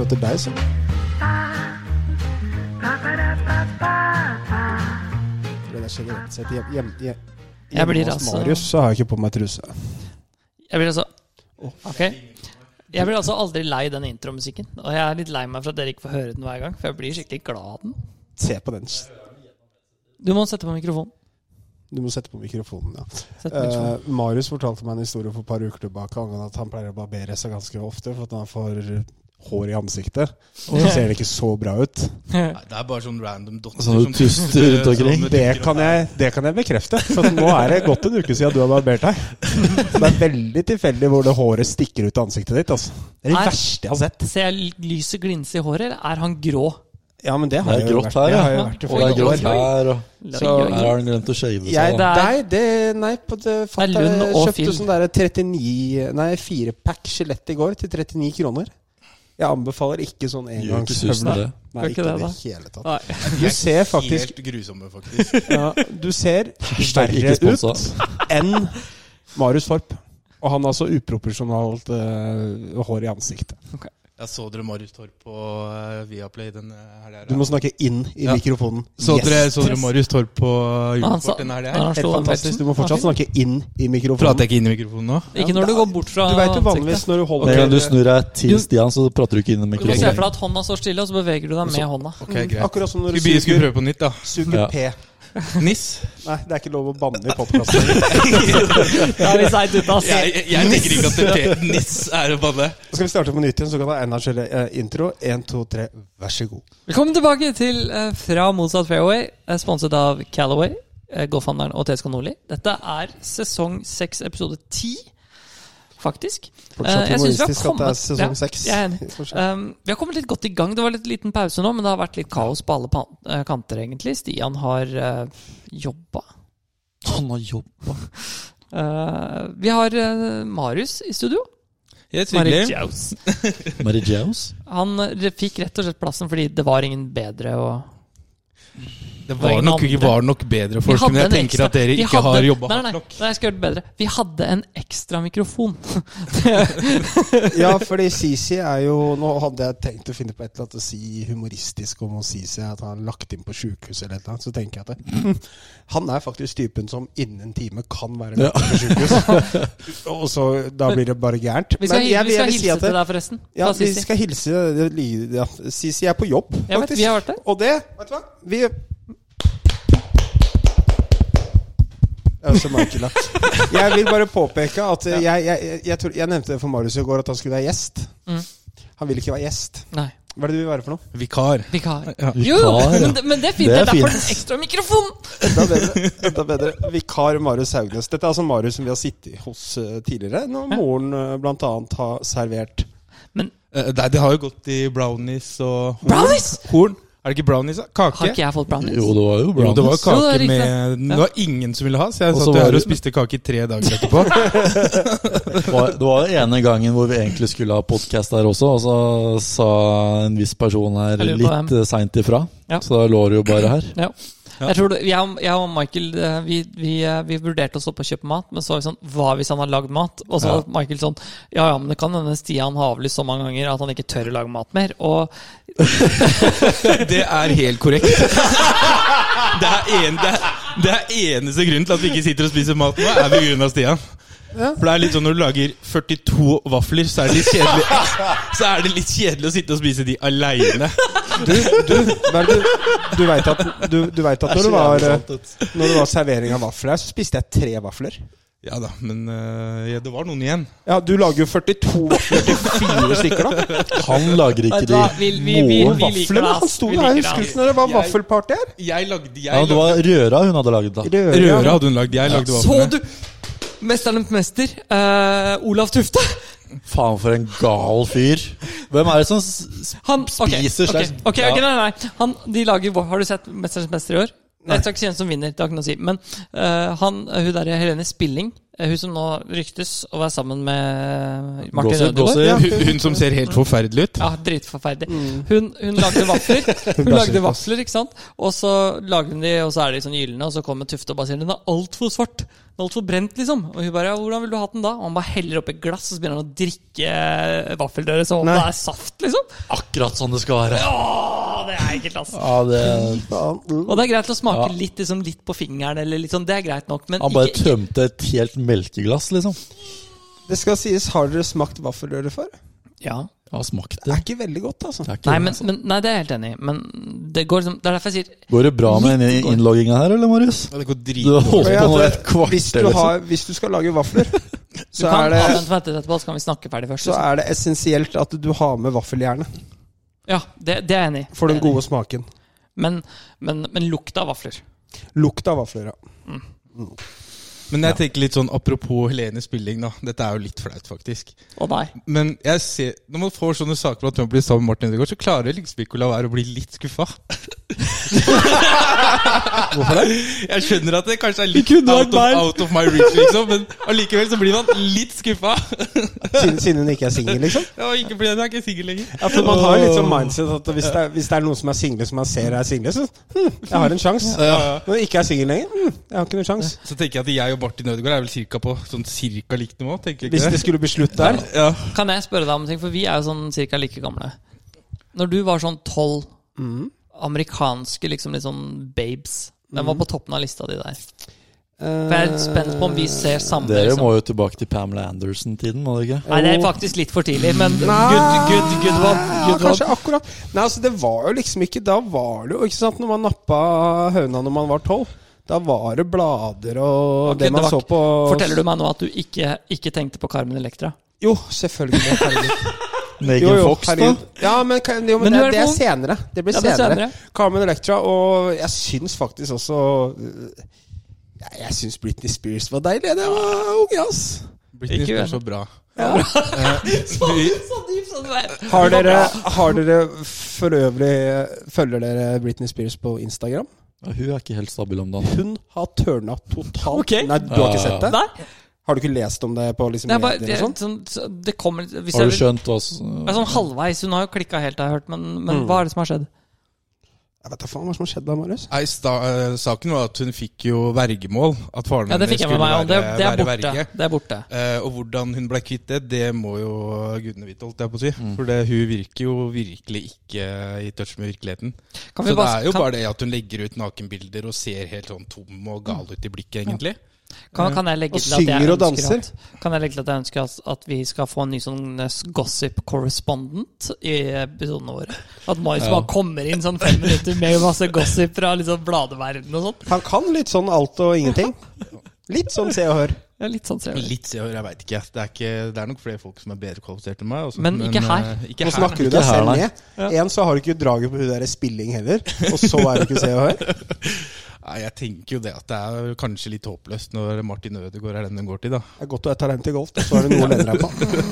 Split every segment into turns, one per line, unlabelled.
etter deg, så. Men jeg generelt sett hjem, hjem, hjem,
Jeg blir
hjemme hos
altså-
Marius så har jeg ikke på meg truse.
Jeg blir altså Ok. Jeg blir altså aldri lei den intromusikken. Og jeg er litt lei meg for at dere ikke får høre den hver gang, for jeg blir skikkelig glad av den.
Se på den.
Du må sette på mikrofonen.
Du må sette på mikrofonen, ja.
Sett på mikrofonen.
Eh, Marius fortalte meg en historie for et par uker tilbake angående at han pleier å barbere seg ganske ofte for at han får hår i ansiktet. Og så ser det ikke så bra ut.
Nei, det er bare sånn random dotter
Sånne
som eh,
tuster rundt omkring.
sånne
Det
dukker
kan
opp.
jeg, det kan jeg bekrefte. For at nå er det godt en uke siden du har barbert deg. Så det er veldig tilfeldig hvor det håret stikker ut av ansiktet ditt. Altså. Det er det
Er-
verste jeg har sett.
Ser jeg lyset glinse i håret, eller er han grå?
Ja, men det
Det
har
er
jeg jo
grått
vært.
her,
Det
ja.
har jeg jo vært i
Og det er
flere år.
grått her, og
Så-
Oi, oi,
her
oi.
har han glemt å shave
Jeg,
seg. da.
da.
nei, det, nei, på det fatt,
Det er Lund
jeg
og
kjøpte
Phil.
sånn der 39 Nei, 4-pack skjelett i går til 39 kroner. Jeg anbefaler ikke sånn
Gjør ikke susen
engangshøvler.
det.
Nei,
Gjør ikke
ikke det
det,
i det
da.
hele tatt.
Nei.
De er
Du ser faktisk
Helt grusomme, faktisk.
ja, Du ser
Hashtag
verre
ikke sponsa.
ut enn Marius Torp. Og han har så uproporsjonalt eh, hår i ansiktet.
Jeg så dere Marius Torp på eh, Viaplay den helga.
Du må snakke inn i
Ja.
mikrofonen.
Så
Yes.
dere, så dere Marius Torp på
Ah, han sa-
julekort den helga?
ah, han
Helt
slo den
fantastisk. Du må
peksen.
fortsatt snakke inn i mikrofonen.
Prater jeg ikke inn i mikrofonen nå?
Ikke når du går bort fra
Du veit jo vanligvis når du
Med
holder
en gang du snur deg til
Du-
Stian, så prater du ikke inn i
Du ser for
mikrofonen.
deg at hånda står stille, og så beveger du deg med hånda.
Ok, greit.
Mm, Akkurat som når du
Skal vi skal vi
suger,
prøve på nytt, da?
suger
Ja.
P.
Niss?
Nei, det er ikke lov å banne i podkasten.
Da er vi seigt ute, ass.
Jeg, jeg, jeg tenker ikke at det er niss er å banne.
Skal vi starte på nytt igjen, så kan Einar kjøre eh, intro. Én, to, tre, vær så god.
Velkommen tilbake til eh, Fra motsatt fairway, eh, sponset av Calaway, eh, Golfhandleren og TSK Nordli. Dette er sesong seks, episode ti, faktisk.
Fortsatt
Eh, jeg synes vi har
humoristisk at det er
kommet-
sesong
Ja,
seks.
jeg er enig.
Fortsatt.
Um, vi har kommet litt godt i gang. Det var litt liten pause nå, men det har vært litt kaos på alle pan- eh, kanter, egentlig. Stian har uh, jobba.
Han har jobba.
Eh, vi har eh, Marius i studio.
Helt
Marius
hyggelig.
Jaus.
Mary Jaus?
Han eh, fikk rett og slett plassen fordi det var ingen bedre å
Det var nok, vi var nok bedre folk, men jeg tenker at dere
vi
ikke
hadde-
har jobba
nei,
hardt
nei,
nok.
Nei, jeg skal gjøre det bedre. Vi hadde en ekstra mikrofon.
Ja, fordi Sisi er jo Nå hadde jeg tenkt å finne på et eller annet å si humoristisk om Sisi, at han er lagt inn på sjukehus eller et eller annet. Så tenker jeg at det, han er faktisk typen som innen en time kan være lagt inn på sjukehus. Og så da blir det bare gærent.
Vi skal,
Men
hi-
jeg-
vi skal
jeg vil si
hilse
at det-
til deg, forresten.
Ja,
Fra
vi
Sissi.
skal hilse det lyder- ja. Sisi er på jobb,
Jeg vet, vi har vært der.
Og det, vet du hva? Vi Jeg er så Michael, da. Jeg vil bare påpeke at eh, jeg, jeg, jeg, jeg, tror, jeg nevnte det for Marius i går, at han skulle være gjest.
Mm.
Han vil ikke være gjest.
Nei.
Hva er det du vil være for noe?
Vikar.
Vikar.
Ja.
Jo,
Vikar, ja.
men, det- men det er fint. Det
Det er
er derfor
fint.
den ekstra mikrofonen.
Enda bedre. Enda bedre. Vikar Marius Haugnes. Dette er altså Marius som vi har sittet hos eh, tidligere, når moren eh, blant annet har servert
Eh, Nei, det har jo gått i brownies og horn.
Brownies!
horn. Er det ikke brownies? da? Kake?
Har ikke jeg fått brownies?
Jo, det var jo
Jo, det var
brownies.
Jo, det er
kake
riktig.
med Det var ingen som ville ha, så jeg
Og så
satt
var
her og
det-
spiste kake i tre dager etterpå.
Det var- det var ene gangen hvor vi egentlig skulle ha podkast her også, og så sa en viss person her
Jeg lurer på
litt
hvem.
seint ifra.
Ja.
Så da lå det jo bare her.
Ja. Jeg, tror det, jeg, og- jeg og Michael eh, vi, vi, eh, vi vurderte å stoppe å kjøpe mat, men så var vi sånn Hva hvis han har lagd mat? Og så var Michael sånn Ja ja, men det kan hende Stian har avlyst så mange ganger at han ikke tør å lage mat mer. Og
Det er helt korrekt. Det er, en, det, er, det er eneste grunnen til at vi ikke sitter og spiser mat nå, er på grunn av Stian. For det er litt sånn når du lager 42 vafler, så er det litt kjedelig Så er det litt kjedelig å sitte og spise de aleine.
Du, du, men du, du veit at, du, du vet at når, det var, eh, når det var servering av vafler her, så spiste jeg tre vafler.
Ja da, men eh, ja, det var noen igjen.
Ja, du lager jo 42 vafler til fire stykker, da.
Han lager ikke
Vet du hva?
de
Vi- vi- vi-
noe
vi-
vaffel.
liker det,
Vaflene
ass.
han sto
Vi
der,
liker
jeg
det,
husker
ass.
ikke når det var
Jeg-
vaffelparty her.
Jeg lagde, jeg
Ja,
lagde
det var røra hun hadde laget, da.
Røra hadde hun lagd. Jeg lagde
så
vaflene.
du Mesternes mester, eh, Olav Tufte.
Faen, for en gal fyr. Hvem er det som s- s-
Han ok,
Spiser
ok,
slags-
ok, ok,
Ja.
nei, nei. Han, de lager, Har du sett Mesternes mester i år? Nei. Jeg skal ikke si hvem som vinner, det har ikke noe å si. Men eh, han, hun derre Helene Spilling, eh, hun som nå ryktes å være sammen med Martin
Blåser,
Ødegaard
blåser.
Hun, hun som ser helt forferdelig ut.
Ja, dritforferdelig.
Mm.
Hun, hun lagde vafler, Hun lagde vafler, ikke sant? Og så lagde hun de, og så er de sånn gylne, og så kommer Tufte og bare sier den er altfor svart. Den er altfor brent, liksom. Og hun bare ja, hvordan vil du ha den da? Og han bare heller oppi et glass, og så begynner han å drikke vaffeldøret som om det er saft, liksom.
Akkurat sånn det skal være.
Åh, det er ekkelt, altså.
Ja, det,
Og det er greit å smake
Ja.
litt, liksom, litt på fingeren, eller litt sånn, det er greit nok, men
han bare
ikke, ikke
tømte et helt melkeglass, liksom.
Det skal sies, har dere smakt vaffelrøre før?
ja.
Ja, smakte
Det
det.
er ikke veldig godt, altså.
er ikke
Nei,
det,
men,
altså.
men, nei, det er jeg helt enig i, men det går liksom Det er derfor jeg sier
Går det bra med
Litt
den innlogginga her, eller, Marius?
Ja, det går drit.
Du har holdt på
Men at
nå i
det-
et kvarter.
hvis, du
liksom.
har, hvis du skal lage vafler,
Du
så
kan
er
anvende
det,
for dette etterpå, så kan vi snakke ferdig først.
så
Liksom.
er det essensielt at du har med vaffeljerne
Ja, det, det er jeg enig i.
for den
Det er jeg enig i.
gode smaken.
Men, men, men lukta av vafler.
Lukt av vafler, ja.
Men jeg tenker litt sånn apropos Helene Spilling, da. Dette er jo litt flaut, faktisk.
Å nei.
Men jeg ser, når man får sånne saker om at Trump blir sammen med Martin Ødegaard, så klarer jeg liksom ikke å la være å bli litt skuffa. Hvorfor det? Jeg skjønner at det kanskje er litt
kunne vært
out of,
meg.
out of my reach, liksom, men allikevel så blir man litt skuffa.
Siden, siden hun ikke er singel, liksom.
Ja, ikke fordi jeg er ikke singel lenger.
Ja, for man har jo litt sånn mindset at hvis det er, hvis det er noen som er single som man ser er single, så hm, jeg har en sjanse. Når jeg ikke er singel lenger, hm, jeg har ikke noen sjanse.
Så tenker jeg at jeg og Martin Ødegaard er vel cirka på sånn cirka likt nivå, tenker jeg
Hvis
ikke
det
det?
skulle bli slutt der.
Ja.
Kan jeg spørre deg om en ting, for vi er jo sånn cirka like gamle. Når du var sånn tolv, amerikanske liksom litt sånn babes Hvem var på toppen av lista di der?
Eh,
For jeg er spent på om vi ser samme.
Dere
liksom.
må jo tilbake til Pamela Anderson-tiden, må dere ikke?
Nei, det er faktisk litt for tidlig, men good,
Nei.
good, good one.
Ja,
Good one.
kanskje akkurat. Nei, altså det var jo liksom ikke Da var det jo ikke sant Når man nappa høna når man var tolv. Da var det blader og
Ok,
det man
det var
så
ikke-
på
Forteller du meg nå at du ikke, ikke tenkte på Carmen Electra?
Jo, selvfølgelig. Herregud. Jo,
Megan
jo,
Fox, da?
herregud. Ja, men, ka- jo,
Men
men,
du
det,
er
det er
ung.
senere. Det blir
Ja, det er
senere.
senere.
Carmen Electra, og jeg syns faktisk også øh, Jeg, jeg syns Britney Spears var deilig da jeg var ung, ass.
Britney
Ikke
Spears
uenig.
var bra. Eh,
Så dyp som du er.
Har dere, har dere for øvrig eh, Følger dere Britney Spears på Instagram?
Ja, hun er ikke helt stabil om dagen.
Hun har tørna totalt
Ok.
Nei, du har ikke sett det?
Nei,
Har du ikke lest om det på liksom
det er bare
medier
det, er
og sånn?
sånn, så det kommer hvis
Har du
jeg-
skjønt hva
Det er sånn halvveis. Hun har jo klikka helt, har jeg hørt. Men, men hva er det som har skjedd?
Jeg vet da faen hva som har skjedd da, Marius.
Nei, sta, eh, Saken var at hun fikk jo vergemål. At faren
Ja, det
hennes
fikk jeg med
skulle
meg. Og det,
være-
det, er
være verge.
borte. det er borte.
Eh, og hvordan hun ble kvitt det, det må jo gudene vite, holdt jeg på å si.
Mm.
For det, hun virker jo virkelig ikke i touch med virkeligheten.
Kan vi
Så det
bare-
er jo
kan-
bare det at hun legger ut nakenbilder og ser helt sånn tom og gal ut i blikket, egentlig.
Kan, kan jeg legge
Og
til at jeg
synger og
ønsker at,
danser.
kan jeg legge til at jeg ønsker at, at vi skal få en ny sånn eh, gossip correspondent i episodene våre? At Marius bare kommer inn sånn fem minutter med masse gossip fra liksom bladeverdenen og sånn.
Han kan litt sånn alt og ingenting. Litt sånn se og hør.
Ja, litt sånn ser jeg det.
Litt se og hør, jeg veit ikke. Det er ikke. Det er nok flere folk som er bedre kvalifisert enn meg. også.
Men ikke her.
eh, Ikke
Nå
her.
snakker du
Ikke
deg
her,
selv
nei.
ned. Én, så har du ikke draget på hun der spilling heller. Og så er du ikke se og hør.
Nei, jeg tenker jo det at det er kanskje litt håpløst når Martin Ødegaard er den den går til, da.
Det er godt du er talent i golf, og så er det noe å lene deg på.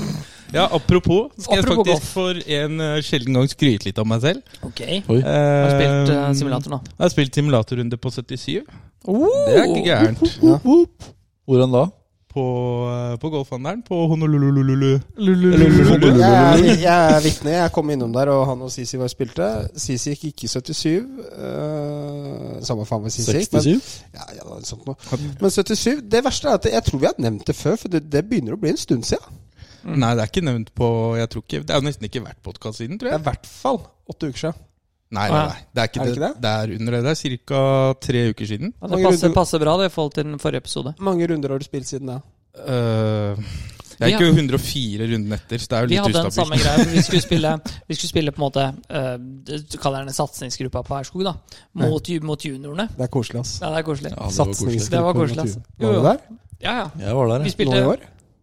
Ja, apropos, skal
Apropos
jeg
golf.
faktisk for en eh, sjelden gang skryte litt av meg selv.
Ok.
Oi.
Jeg har
Har
spilt eh, simulator nå.
Jeg har spilt simulatorrunde på 77. Det er
Oh.
ikke gærent.
Hvordan da?
På, eh, på golfhandelen på Honolulu.
Jeg er, jeg er vitne. Jeg kom innom der, og han og Sisi var spilte. Sisi gikk ikke 77. øh, samme faen med Sisi. gikk, men-
67?
Ja, ja, det er sånt noe. Men 77 Det verste er at jeg tror vi har nevnt det før, for det, det begynner å bli en stund siden.
Nei, det er ikke nevnt på jeg tror ikke, Det er jo nesten ikke vært podkast siden, tror
Det
jeg.
er i hvert fall åtte uker siden.
Nei, nei, nei. Det er ikke,
Er det
det,
ikke det?
det er under det. Det er ca. tre uker siden.
Ja, det Altså, passer, passer bra det i forhold til den forrige episode.
mange runder har du spilt siden da?
Eh, det er
Vi
ikke 104 runden etter, så det er jo
Vi
litt
hadde den samme
ustabilt.
greia. men Vi skulle spille, vi skulle spille på en måte eh, Du kaller den satsingsgruppa på Herskog, da. Mot, ju- mot juniorene.
Det er koselig, ass.
Ja, det er koselig.
Ja, det var koselig.
Satsingsgruppe
Det var koselig, ass.
natur.
Jo, jo.
Var du der?
Ja, ja.
Jeg var der,
Vi
Nå
jeg.
i
spilte,
år?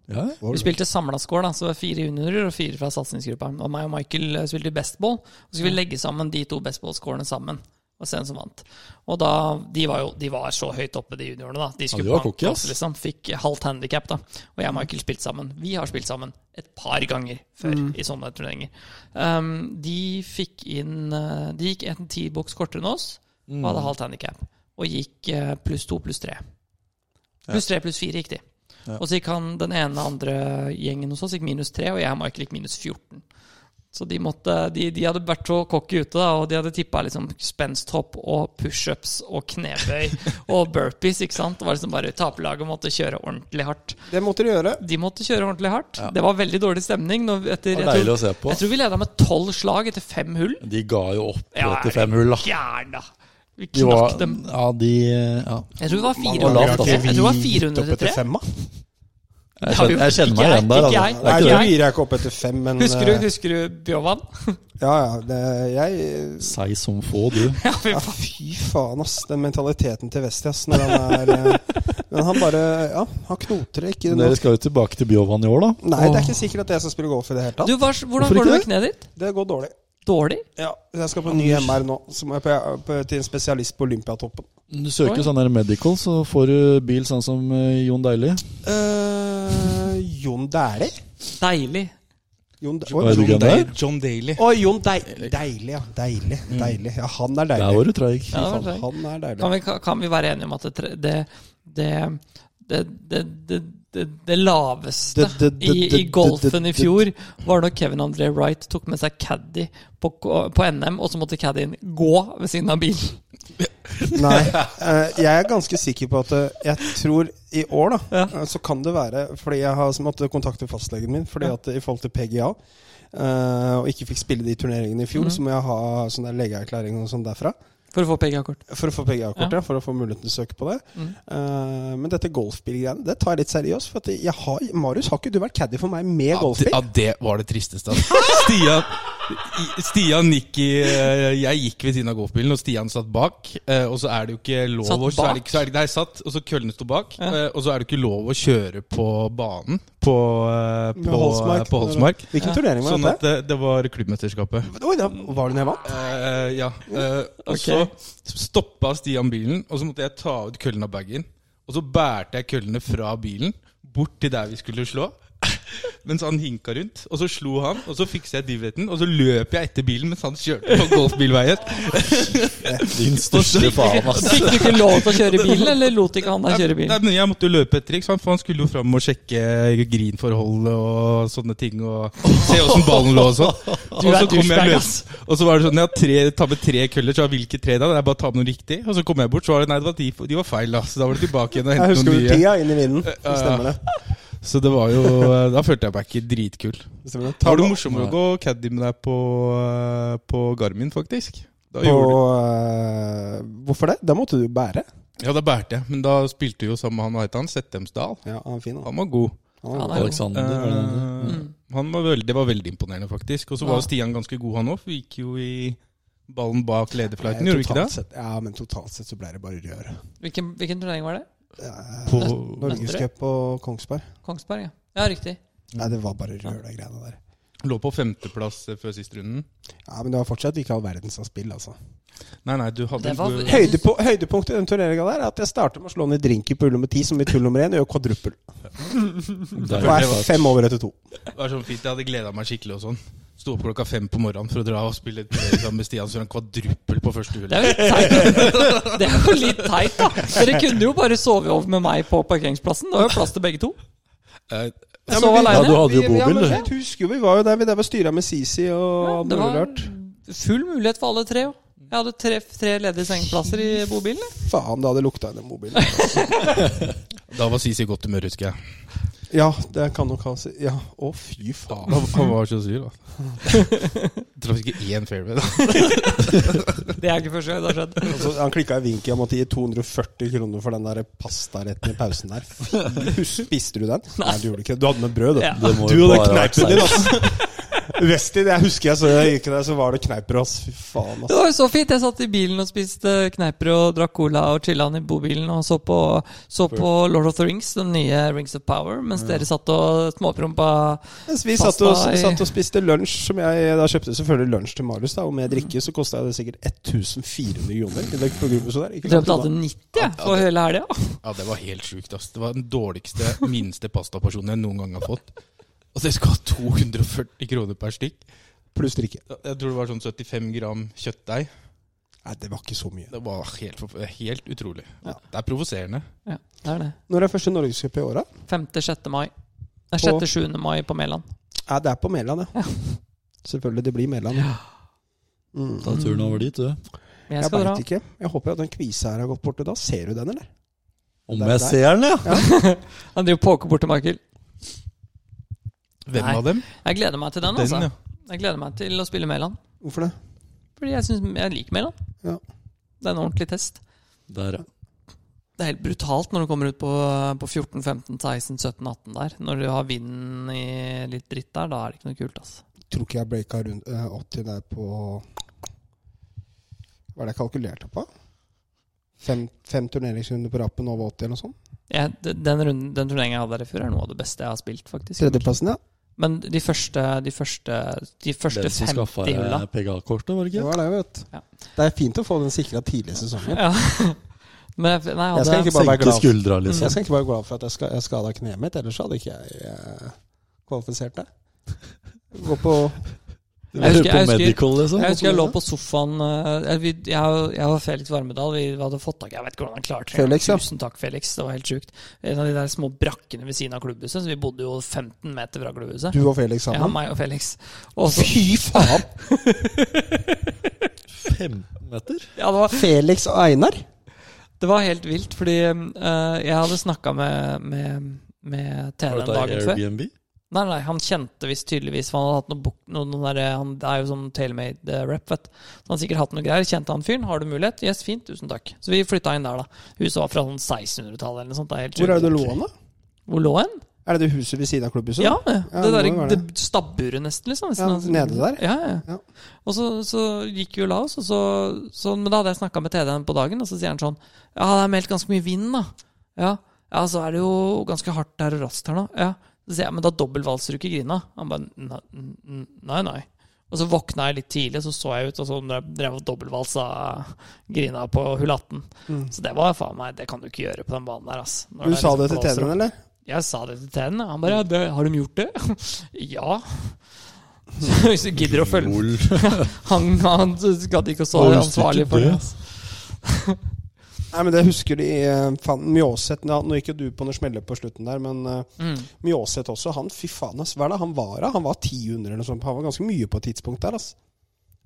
Ja, ja.
Var
vi
du
spilte samla score, da, så det var fire juniorer og fire fra satsingsgruppa. Og meg og Michael eh, spilte bestball. Og så skulle vi legge sammen de to bestballscorene sammen. Og se hvem som vant. Og da, de var jo de var så høyt oppe, de juniorene. da De skulle
de var
banke
kokke,
oss,
ass.
liksom. Fikk halvt handikap, da. Og jeg og Michael spilte sammen. Vi har spilt sammen et par ganger før i sånne turneringer.
Mm.
Um, de fikk inn eh, De gikk en ti boks kortere enn oss og hadde halvt handikap. og gikk eh, pluss to pluss tre. Pluss tre pluss fire gikk de.
Ja.
Og så gikk han den ene andre gjengen hos oss gikk minus tre, og jeg og Michael gikk minus 14. Så de, måtte, de, de hadde vært så cocky ute, da, og de hadde tippa liksom spensthopp og pushups og knebøy og burpees. ikke sant? Det var liksom bare Taperlaget måtte kjøre ordentlig hardt.
Det måtte du gjøre.
De måtte kjøre ordentlig hardt. Det var veldig dårlig stemning. Når, etter,
Det var
jeg,
deilig å
tror,
se på.
jeg tror vi leda med tolv slag etter fem hull.
De ga jo opp
Ja,
etter fem hull, da.
Gæren, da! Vi
De var,
knakk dem.
ja, de ja.
Jeg tror det var
Man
var
400
lavt,
til
altså.
tre. Jeg tror det var
gitt opp
400 til
etter
tre.
fem, da.
Jeg
Det har vi
kjenner,
jo-
jeg kjenner
ikke
meg
jeg,
igjen
ikke
der.
jeg.
Altså. Det
Nei,
er
nå
ikke det.
gir jeg ikke opp etter fem, men
Husker du,
eh,
husker du Bjovan?
Ja, ja. Det, jeg
Seig som få, du.
Ja, fy
ja,
faen.
Fy faen, ass. Den mentaliteten til Vesti, ass. Når han er eh, Men han bare Ja, han knoter det ikke.
Men
Nei,
dere skal jo tilbake til Biovan i år, da.
det er ikke sikkert at jeg skal spille golf i det hele tatt.
Du, hva, hvordan
Hvorfor
går det med
ikke
kneet ditt?
Det går dårlig.
Dårlig?
Ja, jeg skal på ny MR nå. Så må jeg på, på, til en spesialist på Olympiatoppen.
Du søker
Oi.
sånn der medical, så får du bil sånn som eh, Jon Deilig.
Eh, Jon Dæhlie?
Deilig.
Jon Dæ-
Hva er det
Oi,
du
Jon Dæhlie.
greier?
John Daly.
Å, Jon Dei- Deilig, ja. Deilig. deilig. Ja, han er
Der
deilig.
var du treig.
Ja, det var
Fy
det.
faen, han er deilig.
Kan vi, kan vi være enige om at det tre- det det, det, det, det, det, det laveste
Det- det- det-
i, i
det- det-
golfen i
det-
fjor var når Kevin André Wright tok med seg caddy på, K- på NM, og så måtte caddyen gå ved siden av bilen.
Nei, eh, jeg er ganske sikker på at eh, jeg tror i år da,
Ja.
eh, så kan det være fordi jeg har måttet kontakte fastlegen min fordi at eh, i forhold til PGA eh, og ikke fikk spille de turneringene i
Mhm.
fjor, så må jeg ha sånn der legeerklæring og sånn derfra.
For å få PGA-kort.
For å få PGA-kort, ja. For å få muligheten til å søke på det.
Mhm.
Eh, men dette golfbilgreiene det tar jeg litt seriøst. For at jeg har, Marius, har ikke du vært caddy for meg med
Ja, det,
golfbil?
ja, det var det tristeste. altså. Stian, i- Stian gikk i eh, Jeg gikk ved siden av golfbilen, og Stian satt bak. eh, Og så er det jo ikke lov
Satt
å så er det
bak?
ikke, så er det, Nei, satt, og så køllene sto bak. eh, Og så er det ikke lov å kjøre på banen på, eh,
Med Eh,
på, Holsmark. på Holsmark.
Hvilken turnering var
Sånn
dette?
at det, det var klubbmesterskapet.
Oi, da var det når jeg vant?
Eh, ja. eh, og
Ok.
så stoppa Stian bilen, og så måtte jeg ta ut køllen av bagen. Og så bærte jeg køllene fra bilen bort til der vi skulle slå. Mens han hinka rundt, og så slo han, og så fiksa jeg divheten. Og så løp jeg etter bilen mens han kjørte på golfbilveien.
Din største faen, ass.
Fikk du ikke lov til å kjøre bilen, eller lot ikke han deg kjøre
Nei,
bilen?
men Jeg måtte jo løpe etter, ikke sant? for han skulle jo fram og sjekke grinforhold og sånne ting. Og se åssen ballen lå og sånn.
Du
Og
er
så kom jeg
douchebag,
løp-
ass.
Og så var det sånn, jeg har tre, tar med tre køller, så hvilke tre da? Det er bare å ta med noe riktig. Og så kom jeg bort, så var det, nei, det var de, de var feil da. Så da var det tilbake igjen og
Jeg
hente
husker du
noen nye. Eh,
tida inn i vinden. Det stemmer det.
Så det var jo, eh, da følte jeg meg ikke dritkul.
det, stemmer det.
Var det morsommere å gå caddy med deg på, eh, på Garmin, faktisk? Da
på,
gjorde du.
eh, Hvorfor det? Da måtte du bære.
Ja, da bærte jeg, men da spilte vi jo sammen med han, hva heter han? Settemsdal.
Ja, han er fin, han.
Han var god.
han.
Ja,
er
nei.
Alexander. var det det?
Eh,
Mm.
han var veldig, det var veldig imponerende, faktisk. Og så
Ja.
var jo Stian ganske god, han òg. Vi gikk jo i ballen bak
god.
lederflighten,
Nei,
gjorde vi ikke
totalt
det?
sett- Ja, men totalt sett så ble det bare rør.
Hvilken, hvilken turnering var det?
På,
Norgescup og Kongsberg.
Kongsberg, ja. Ja, riktig.
Nei, det var bare rør, de greiene der.
lå på femteplass eh, før siste runden.
Ja, Men det var fortsatt ikke all verdens av spill, altså.
Nei, nei, du hadde
Det
en
var-
god-
Høydepu- høydepunktet i den turneringa der er at jeg starter med å slå ned drinker på hull nummer ti, som mitt hull nummer én, og gjør kvadruppel. Og
Deilig.
er fem over etter to.
Det var sånn fint, Jeg hadde gleda meg skikkelig og sånn. Sto opp klokka fem på morgenen for å dra og spille et turnering sammen med Stian, så gjorde han kvadruppel på første
Det
hullet.
er jo litt teit. Det er jo litt teit, da. Dere kunne jo bare sove over med meg på parkeringsplassen. Det var jo plass til begge to.
Eh,
Jeg sov
Ja, du
aleine.
hadde jo
Vi- ja,
bobil,
men
du.
jeg husker jo vi var jo der vi der var styra med Sisi og
Det
noe
var
rart.
full mulighet for alle tre. jo. Jeg hadde tre, tre ledige sengeplasser i bobilen. jeg.
Faen, det hadde lukta inn i mobilen.
Da var Sisi i godt humør, husker jeg.
Ja, det kan nok ha si- Ja, å fy faen.
Han, han var så sur, da. Traff ikke én fairway. da.
Det er ikke første gang det har skjedd.
Og så Altså, han klikka i vinkel og måtte gi 240 kroner for den der pastaretten i pausen der. Fy, Spiste du den? Nei, du gjorde ikke det. Du hadde med brød, du.
Ja.
Det må
Du
jo
og den
bare ha vært
kneipen
seig.
din, altså. Vesti, det husker jeg, så jeg gikk der, så var det kneiper, ass. Fy faen,
Det
ass.
var jo så fint. Jeg satt i bilen og spiste kneiper og drakk cola og chilla'n i bobilen og så på, så på Lord of the Rings, den nye Rings of Power, mens dere satt og småprompa.
Mens vi satt og,
Pasta i-
satt og spiste lunsj, som jeg da kjøpte selvfølgelig lunsj til Marius, da, og med drikke, så kosta det sikkert 1400 kroner. I det programmet så der. Ikke langt
Drømte
unna.
hadde 90 jeg, for hele helga.
Ja, Det var helt sjukt. ass. Det var den dårligste, minste pastaporsjonen jeg noen gang har fått. Og det skal ha 240 kroner per stykk.
Pluss drikke.
Jeg tror det var sånn 75 gram kjøttdeig.
Nei, det var ikke så mye.
Det var helt, forf- det er helt utrolig.
Ja.
Det er provoserende.
Ja, det er det.
Når er første norgescup i året?
5.-6. mai. Nei,
På-
6.-7. mai på Mæland.
Ja, det er på Mæland, ja. Selvfølgelig, det blir Mæland. Ja. Mm.
Ta turen over dit, du.
Men jeg
Jeg
skal dra.
veit ikke. Jeg håper jo at den kvisa her har gått bort til da. Ser du den, eller?
Om
Det er
jeg
der.
ser den, ja!
Han driver og poker bort til Michael.
Hvem
Nei.
av dem?
Jeg gleder meg til den,
Den,
altså.
ja.
Jeg gleder meg til å spille Mæland.
Hvorfor det?
Fordi jeg synes jeg liker Mæland.
Ja.
Det er en ordentlig test.
Der, ja.
Det er helt brutalt når du kommer ut på, på 14, 15, 16, 17, 18 der. Når du har vinden i litt dritt der, da er det ikke noe kult, altså.
Tror ikke jeg breaka rundt eh, 80 der på Hva er det jeg kalkulerte på? Fem, fem turneringsrunder på rappen over 80 eller noe sånt?
Jeg, den, runden, den turneringen jeg hadde der i fjor, er noe av det beste jeg har spilt, faktisk.
Tredjeplassen, ja.
Men de første, de første, de første
Den som
50
eh, skaffa
hulla
deg PGA-kortet, var det
Det
ikke?
var det, vet du.
Ja.
Det er fint å få den sikra tidlig i sesongen.
Ja. Men jeg, nei, jeg
Jeg
hadde
skal ikke bare være
Senke
glad.
skuldra,
Jeg
liksom.
Mm.
skal ikke være glad for at jeg, ska, jeg skada kneet mitt, ellers hadde ikke jeg eh, kvalifisert det. Gå på
Du
Jeg husker-
hører på
jeg husker-
medical, liksom.
Jeg husker jeg lå på sofaen eh, jeg, vi- jeg, jeg var Felix Varmedal. Vi hadde fått tak Jeg vet ikke hvordan han klarte det.
Felix, ja.
Tusen takk, Felix. Det var helt sjukt. En av de der små brakkene ved siden av klubbhuset. Så vi bodde jo 15 meter fra klubbhuset.
du og Felix
Ja,
sammen.
meg og Felix. Og så,
Fy faen!
Fem meter?
ja, det, var,
Felix og Einar?
det var helt vilt, fordi eh, jeg hadde snakka med, med, med
Var
Tene
dette
dagen før.
Airbnb?
Nei, nei, han kjente visst tydeligvis For han hadde hatt noe bok, noe, noe der, Han det er jo sånn Tailmade-rap, vet du. Så han har sikkert hatt noe greier. Kjente han fyren? Har du mulighet? Yes, fint, tusen takk. Så vi flytta inn der, da. Huset var fra sånn 1600-tallet eller noe sånt. Det er helt
Hvor er
sjukt.
det du lå da?
Hvor lå en?
Er det det huset ved siden av klubbhuset?
Ja, det,
Ja,
det
det må
der
jo være
det
det.
stabburet, nesten. liksom
Ja,
nesten,
nede der?
Ja, ja.
Ja.
Og så, så gikk vi og la oss, og så, så Men da hadde jeg snakka med TD-en på dagen, og så sier han sånn Ja, det er meldt ganske mye vind, da. Ja, ja så er det jo ganske hardt der og raskt her nå. Ja. Så sier jeg, men da dobbeltvalser du ikke grina? Han bare "Nei, n- nei, nei. Og så våkna jeg litt tidlig, så så jeg ut, og så drev og dobbeltvalsa grina på hull 18.
Mm.
Så det var faen meg Det kan du ikke gjøre på den banen der, ass. Når
Du
er
sa
liksom
det til
blåser opp.
Tenen, eller?
Jeg sa det til Ten. Han bare ja, det, 'Har de gjort det?' ja. Så Hvis du gidder å følge
Lol.
Han, han gadd ikke å stå
Har du
ansvarlig
støttet
for det.
det?
ass.
Nei, men det husker de eh, faen, Mjåseth ja, Nå gikk jo du på noen smeller på slutten der, men eh,
Mm.
Mjåseth også, han fy faen, ass. Hva er det han var da? Han var 1000 eller noe sånt. Han var ganske mye på et tidspunkt der, ass.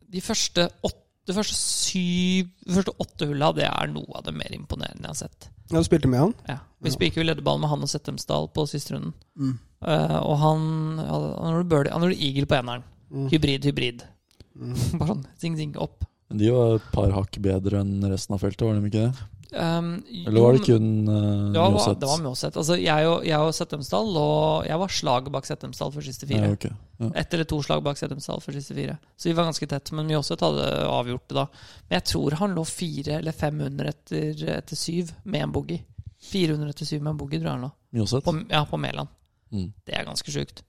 De første åtte de første syv De første åtte hulla, det er noe av det mer imponerende jeg har sett.
Ja, du spilte med han?
Ja. Vi spiker jo leddeballen med han og Settemsdal på siste runden.
Mm.
Eh, og han Han gjorde birdie- han gjorde eagle på eneren.
Mm.
Hybrid, hybrid.
Mm.
Bare sånn zing, zing, opp.
Men De var et par hakk bedre enn resten av feltet, var de ikke det?
Um, jo,
Eller var det
men-
kun eh,
Det var,
Mjåseth?
det var Mjåseth. Altså, jeg og, jeg og Settemsdal lå Jeg var slaget bak Settemsdal for siste fire.
Ja, ok. Ja.
Ett eller to slag bak Settemsdal for siste fire. Så vi var ganske tett, men Mjåseth hadde avgjort det da. Men jeg tror han lå fire eller fem under etter, etter syv med en boogie. 400 etter syv med en boogie, tror jeg han lå.
Mjåseth?
På, ja, på Mæland.
Mm.
Det er ganske sjukt.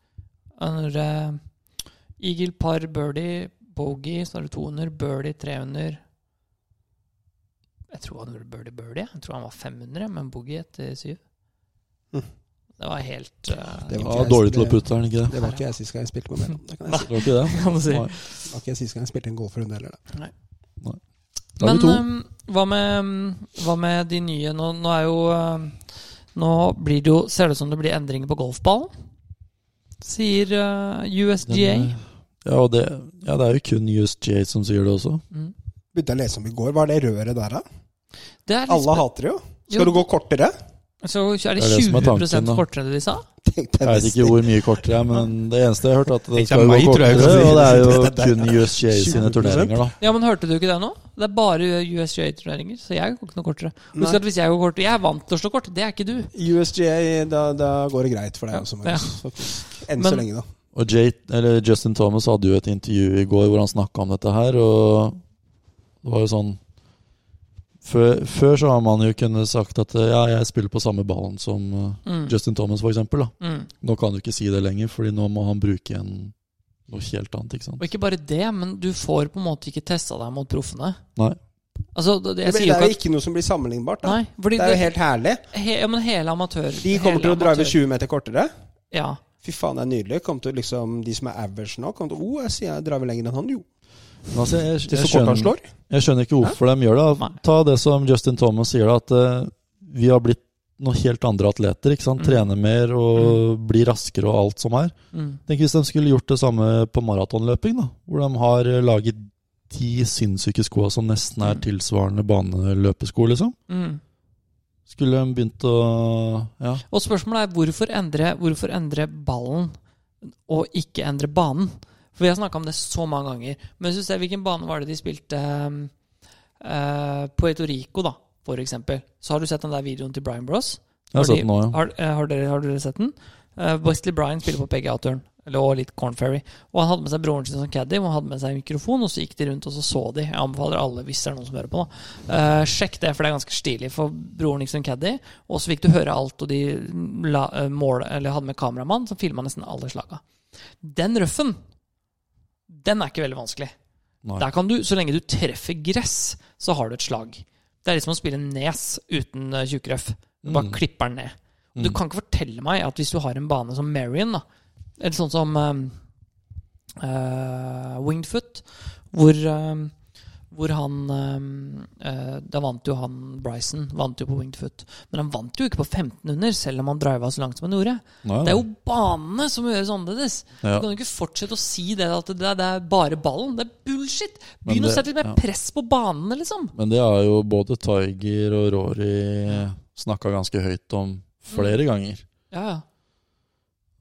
Under, eh, eagle par birdie, bogey, så er det to under. Birdie tre under. Jeg tror han gjorde birdie birdie. Jeg tror han var 500 med en boogie etter syv.
Hm.
Mm.
Det var helt eh,
Det
Ja, dårlig til å putte, er han ikke det?
Det var ikke jeg sist gang jeg spilte med Mellom. Det kan jeg si.
Det var ikke det?
kan du si.
Nei.
Det var ikke jeg sist gang jeg spilte en golfrunde heller, da.
Da er
Men
vi to.
ehm, hva, med, ehm, hva med de nye? Nå, nå er jo ehm, Nå blir det jo, ser det ut som det blir endringer på golfballen. Sier eh, USGA.
Den, eh, ja, og det, ja, det er jo kun USJ som sier det også.
Mm.
Begynte jeg å lese om i går. Hva er det røret der, da?
Det er litt
Alle
spen-
hater det jo.
Jo.
Skal du gå kortere?
Så er det
Det er det som
20
er tanken, da.
kortere enn de sa?
Tenkte
Jeg vet ikke hvor mye kortere jeg er, men det eneste jeg har hørt, er at det
Ikke
skal jo
meg,
gå
tror jeg,
kortere,
kanskje.
og det er jo kun USJ sine
20%.
turneringer, da.
Ja, men hørte du ikke det nå? Det er bare USGA-turneringer, så jeg går ikke noe kortere. Husk
Nei.
at hvis jeg går kortere Jeg er vant til å slå kort, det er ikke du.
USGA, da, da går det greit for deg
Ja,
også,
ja.
Magnus. Faktisk. Enn
Men-
så lenge, da.
Og Jay, eller Justin Thomas hadde jo et intervju i går hvor han snakka om dette her, og det var jo sånn før, før så har man jo kunnet sagt at ja, jeg spiller på samme ballen som eh,
Mm.
Justin Thomas, for eksempel. Da.
Mm.
Nå kan du ikke si det lenger, Fordi nå må han bruke en noe helt annet. ikke sant?
Og ikke bare det, men du får på en måte ikke testa deg mot proffene.
Nei.
Altså, det,
Det,
jeg
blir, det
sier jo
er
ikke
jo ikke noe som blir sammenlignbart.
at
Da.
Nei, fordi
Det er jo helt herlig.
he, ja, men hele amatør...
De kommer
hele
til å drive
amatør-
20 meter kortere.
Ja.
Fy faen, det er nydelig. Kom til å liksom, De som er average nå, kommer til å oh, jeg sier jeg driver lenger enn han. Jo.
Men altså, jeg, jeg,
Til så kort han
skjønner,
slår?
jeg skjønner ikke hvorfor de gjør det.
Nei.
Ta det som Justin Thomas sier, da, at eh, vi har blitt noen helt andre atleter. ikke sant?
Mm.
Trener mer og blir raskere og alt som er.
Mm.
Tenk hvis de skulle gjort det samme på maratonløping, da. Hvor de har eh, laget de sinnssyke skoa som nesten er
Mm.
tilsvarende baneløpesko, liksom.
Mm.
Skulle de begynt å Ja.
Og spørsmålet er hvorfor endre, hvorfor endre ballen og ikke endre banen? For vi har snakka om det så mange ganger. Men hvis du ser hvilken bane var det de spilte um, eh, Puerto Rico, da, for eksempel. Så har du sett den der videoen til Brian Bros.
Jeg har
Fordi-
sett den nå, ja.
Har, eh, har, dere, har dere sett den? Eh, Wesley Bryan spiller på PGA-turen. Eller og litt Corn Ferry. Og han hadde med seg broren sin som caddy, og han hadde med seg en mikrofon, og så gikk de rundt og så så de. Jeg anbefaler alle, hvis det er noen som hører på, da. Eh, sjekk det, for det er ganske stilig. For broren gikk som caddy, og så fikk du høre alt, og de la, eh, mål, eller hadde med kameramann, som filma nesten alle slaga. Den røffen, den er ikke veldig vanskelig.
Nei.
Der kan du, Så lenge du treffer gress, så har du et slag. Det er liksom å spille nes uten eh, tjukkrøff. Du bare
Mm.
klipper den ned. Du
Mm.
kan ikke fortelle meg at hvis du har en bane som Marion, da, eller sånn som eh, eh, Wingfoot, hvor, eh, hvor han eh, eh, Da vant jo han Bryson vant jo på Wingfoot. Men han vant jo ikke på 1500, selv om han driva så langt som han gjorde.
Nei,
Det er jo banene som gjøres annerledes.
Ah, ja.
Du kan jo ikke fortsette å si det at det, er- det er bare ballen. Det er bullshit!
Men
Begynn å
det-
sette litt mer
ja.
press på banene, liksom.
Men det har jo både Tiger og Rory snakka ganske høyt om
Mm.
flere ganger.
Ja, ja.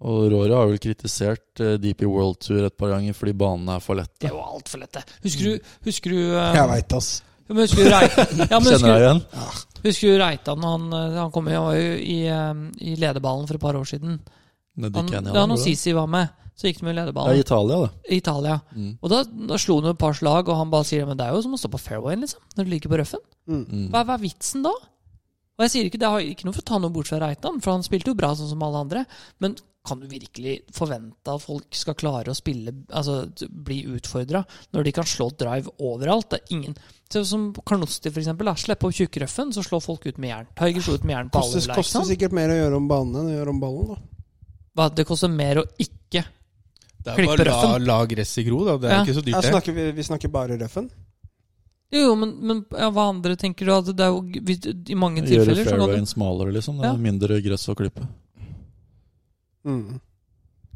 Og Rory har vel kritisert eh, DP World Tour et par ganger fordi banene er for
Det
lette.
er jo altfor lette. Husker du, husker du eh,
Jeg veit, ass.
Ja, Men husker du Reitan, ja, men
Kjenner jeg
husker,
igjen?
husker du Reitan han, eh, han, kom, jo- han var jo i, eh, i lederballen for et par år siden.
Nedi
Han,
Kenya,
da han og
var det?
Sisi var med, så gikk de med i
Det er
lederballen
Italia, det.
i Italia.
Mm.
Og da, da slo han jo et par slag, og han bare sier men det er jo som å stå på fairwayen liksom, når du ligger på røffen.
Mm.
Hva, hva er vitsen da? Og jeg sier ikke, Det har ikke noe for å ta noe bort fra Reitan, for han spilte jo bra sånn som alle andre. Men kan du virkelig forvente at folk skal klare å spille, altså bli utfordra, når de kan slå drive overalt? Det er ingen Se som Karnosti, for eksempel. da. Slippe opp tjukkrøffen, så slår folk ut med jern. Tiger slo ut med jern på alle
Koster,
lag.
koster
sant?
sikkert mer å gjøre om banen enn å gjøre om ballen, da.
Hva, Det koster mer å ikke
Det er
Klipp
bare la,
røffen.
la gresset gro, da. Det er
Ja.
ikke så
Jeg
dyrt, det.
snakker, vi, vi snakker bare røffen.
Jo, jo, men, men ja, hva andre tenker du? at Det er jo, vi- I mange
Gjøre
tilfeller så kan du
fairwayen smalere, liksom. Det
Ja.
er mindre gress å klippe.
Mm.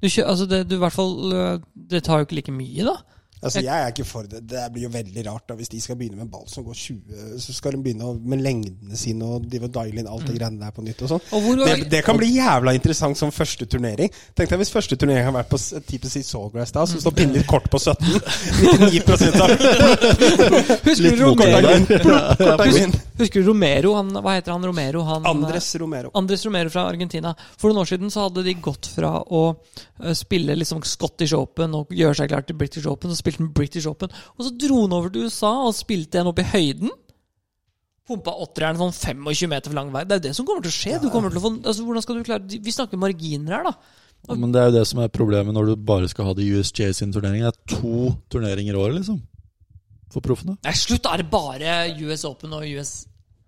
du, kjø, altså det, du i hvert fall, øh, det tar jo ikke like mye, da.
Altså, jeg er ikke for det. Det blir jo veldig rart da hvis de skal begynne med en ball som går 20 Så skal de begynne å- med lengdene sine og drive og diale inn alt det greiene der på nytt og sånn.
Og hvor,
Det, det kan bli jævla interessant som første turnering. Tenk deg hvis første turnering har vært på s- typisk i Sawgrass da, så står pinnen litt kort på 17. 99 av
Husker
Litt
du
motgang
Romero?
der.
kortdagen.
Husker du Romero? Han, hva heter han Romero? Han, eh,
Andres Romero.
Andres Romero fra Argentina. For noen år siden så hadde de gått fra å eh, spille liksom Scottish Open og gjøre seg klar til British Open, så spilte han British Open. Og så dro han over til USA og spilte en opp i høyden. Pumpa åtteren sånn 25 meter for lang vei. Det er jo det som kommer til å skje. Du kommer til å få, altså, hvordan skal du klare Vi snakker marginer her, da.
Ja, Men det er jo det som er problemet når du bare skal ha det i USJ sin turnering. Det er to turneringer i året, liksom. For proffene.
Nei, slutt! da Er det bare US Open og US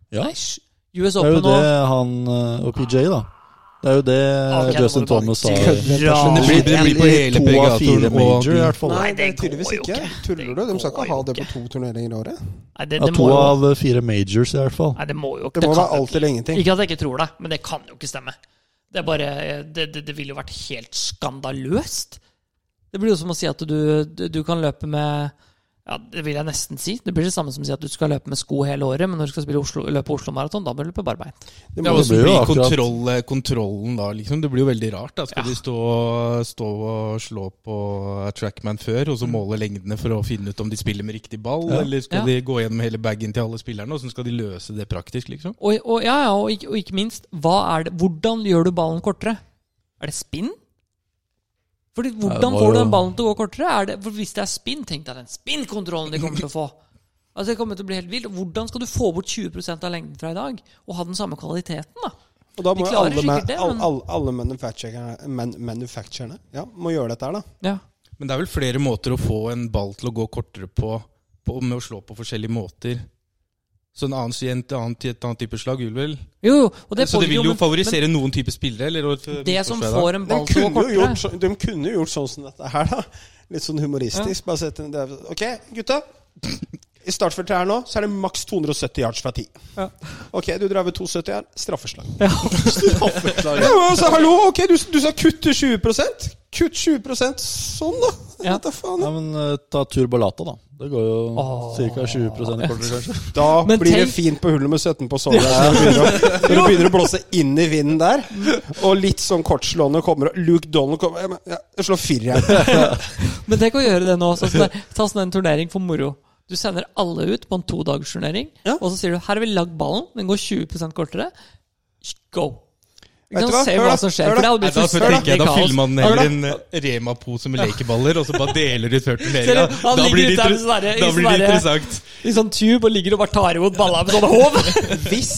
Ja.
Nei, sj- US
Det er jo
Open
det
og
han eh, og PJ, da. Det er jo det
Ok, da må
Justin
du bare
Thomas sa.
kødde.
sånn
Men det blir, det blir på hele
to av fire
PGA-turen.
major, i hvert fall.
Nei,
det
det er tydeligvis
går jo
ikke.
ikke.
Tuller du?
Det
De skal
går
ikke ha
jo
det på
ikke.
to turneringer i året.
Nei, det,
Ja,
det
to
må jo
av eh, fire majors, i hvert fall.
Nei, det må jo ikke
Det må
kan
være
jo
alt eller
ikke.
ingenting.
Ikke at jeg ikke tror det, men det kan jo ikke stemme. Det, er bare, det, det, det ville jo vært helt skandaløst. Det blir jo som å si at du, du kan løpe med ja, Det vil jeg nesten si. Det blir det samme som å si at du skal løpe med sko hele året, men når du skal spille Oslo, løpe Oslo-maraton, da bør du løpe barbeint.
Det
Ja,
må
og
Det
så
blir jo
blir
akkurat-
kontroll, eh, kontrollen da, liksom. Det blir jo veldig rart. Da. Skal de stå, stå og slå på trackman før, og så måle lengdene for å finne ut om de spiller med riktig ball?
Ja.
Eller skal
Mm. Ja.
de gå gjennom hele bagen til alle spillerne? Åssen skal de løse det praktisk, liksom?
Og, og, ja, ja, og, ikke, og ikke minst, hva er det, hvordan gjør du ballen kortere? Er det spinn? Fordi
det
Hvordan
var
får du
jo-
den ballen til å gå kortere? Er det, for hvis det er spinn, tenk deg den spinnkontrollen de kommer til å få. Altså Det kommer til å bli helt vilt. Og Hvordan skal du få bort 20 av lengden fra i dag, og ha den samme kvaliteten? da?
Og da
De
må jo
klarer
alle,
sikkert
ma-
det,
alle,
men-
alle, alle manufacturerne, man, manufacturerne ja, må gjøre dette her, da.
Ja.
Men det er vel flere måter å få en ball til å gå kortere på, på med å slå på forskjellige måter. Så en annen skien til annen- til et annet type slag vil vel
Jo, jo, og det
Så det
påvirker
vil jo
men-
favorisere noen type spillere? Eller,
men Det som får en
De
ball til å gå
kunne, jo
kortere
gjort, så- de kunne jo gjort sånn som dette her, da. Litt sånn humoristisk. Bare sett en der. Ok, gutta. I startfeltet her nå så er det maks 270 yards fra 10.
Ja.
Ok, du drar ved 270 her. Straffeslag.
Ja.
Straffeslag. Ja, men altså, hallo, ok, du, du sa kutte 20 Kutt 20 Sånn, da.
Ja.
Hva faen?
Nei, men eh, ta Turbalata, da. Det går jo
Åh.
ca. 20 kortere, kanskje.
Da
Men
blir det
tenk-
fint på hull nummer 17 på Sovjet. Når, det begynner å- når det begynner å blåse inn i vinden der, og litt sånn kortslående kommer og Luke Donald kommer ja, men, ja, Jeg slår fireren.
Men tenk å gjøre det nå. Sånn som det- ta sånn en turnering for moro. Du sender alle ut på en todagersturnering,
Ja.
og så sier du 'her har vi lagd ballen', den går 20 kortere. Go! Vi
Vet
kan
du hva?
se
Hør
hva
da,
som skjer.
hør
For det
da.
hadde
Nei,
blitt
da, så tenker jeg,
fullstendig
da
kaos.
fyller man heller en eh, Rema-pose med lekeballer, og så bare deler ut før turneringa.
Ser du, han
Da
ligger
blir det,
ute her med
inter-
sånn derre-
da
i
blir
sånn
det
derre-
interessant.
I sånn tube og ligger og bare tar imot balla med sånn håv.
Hvis,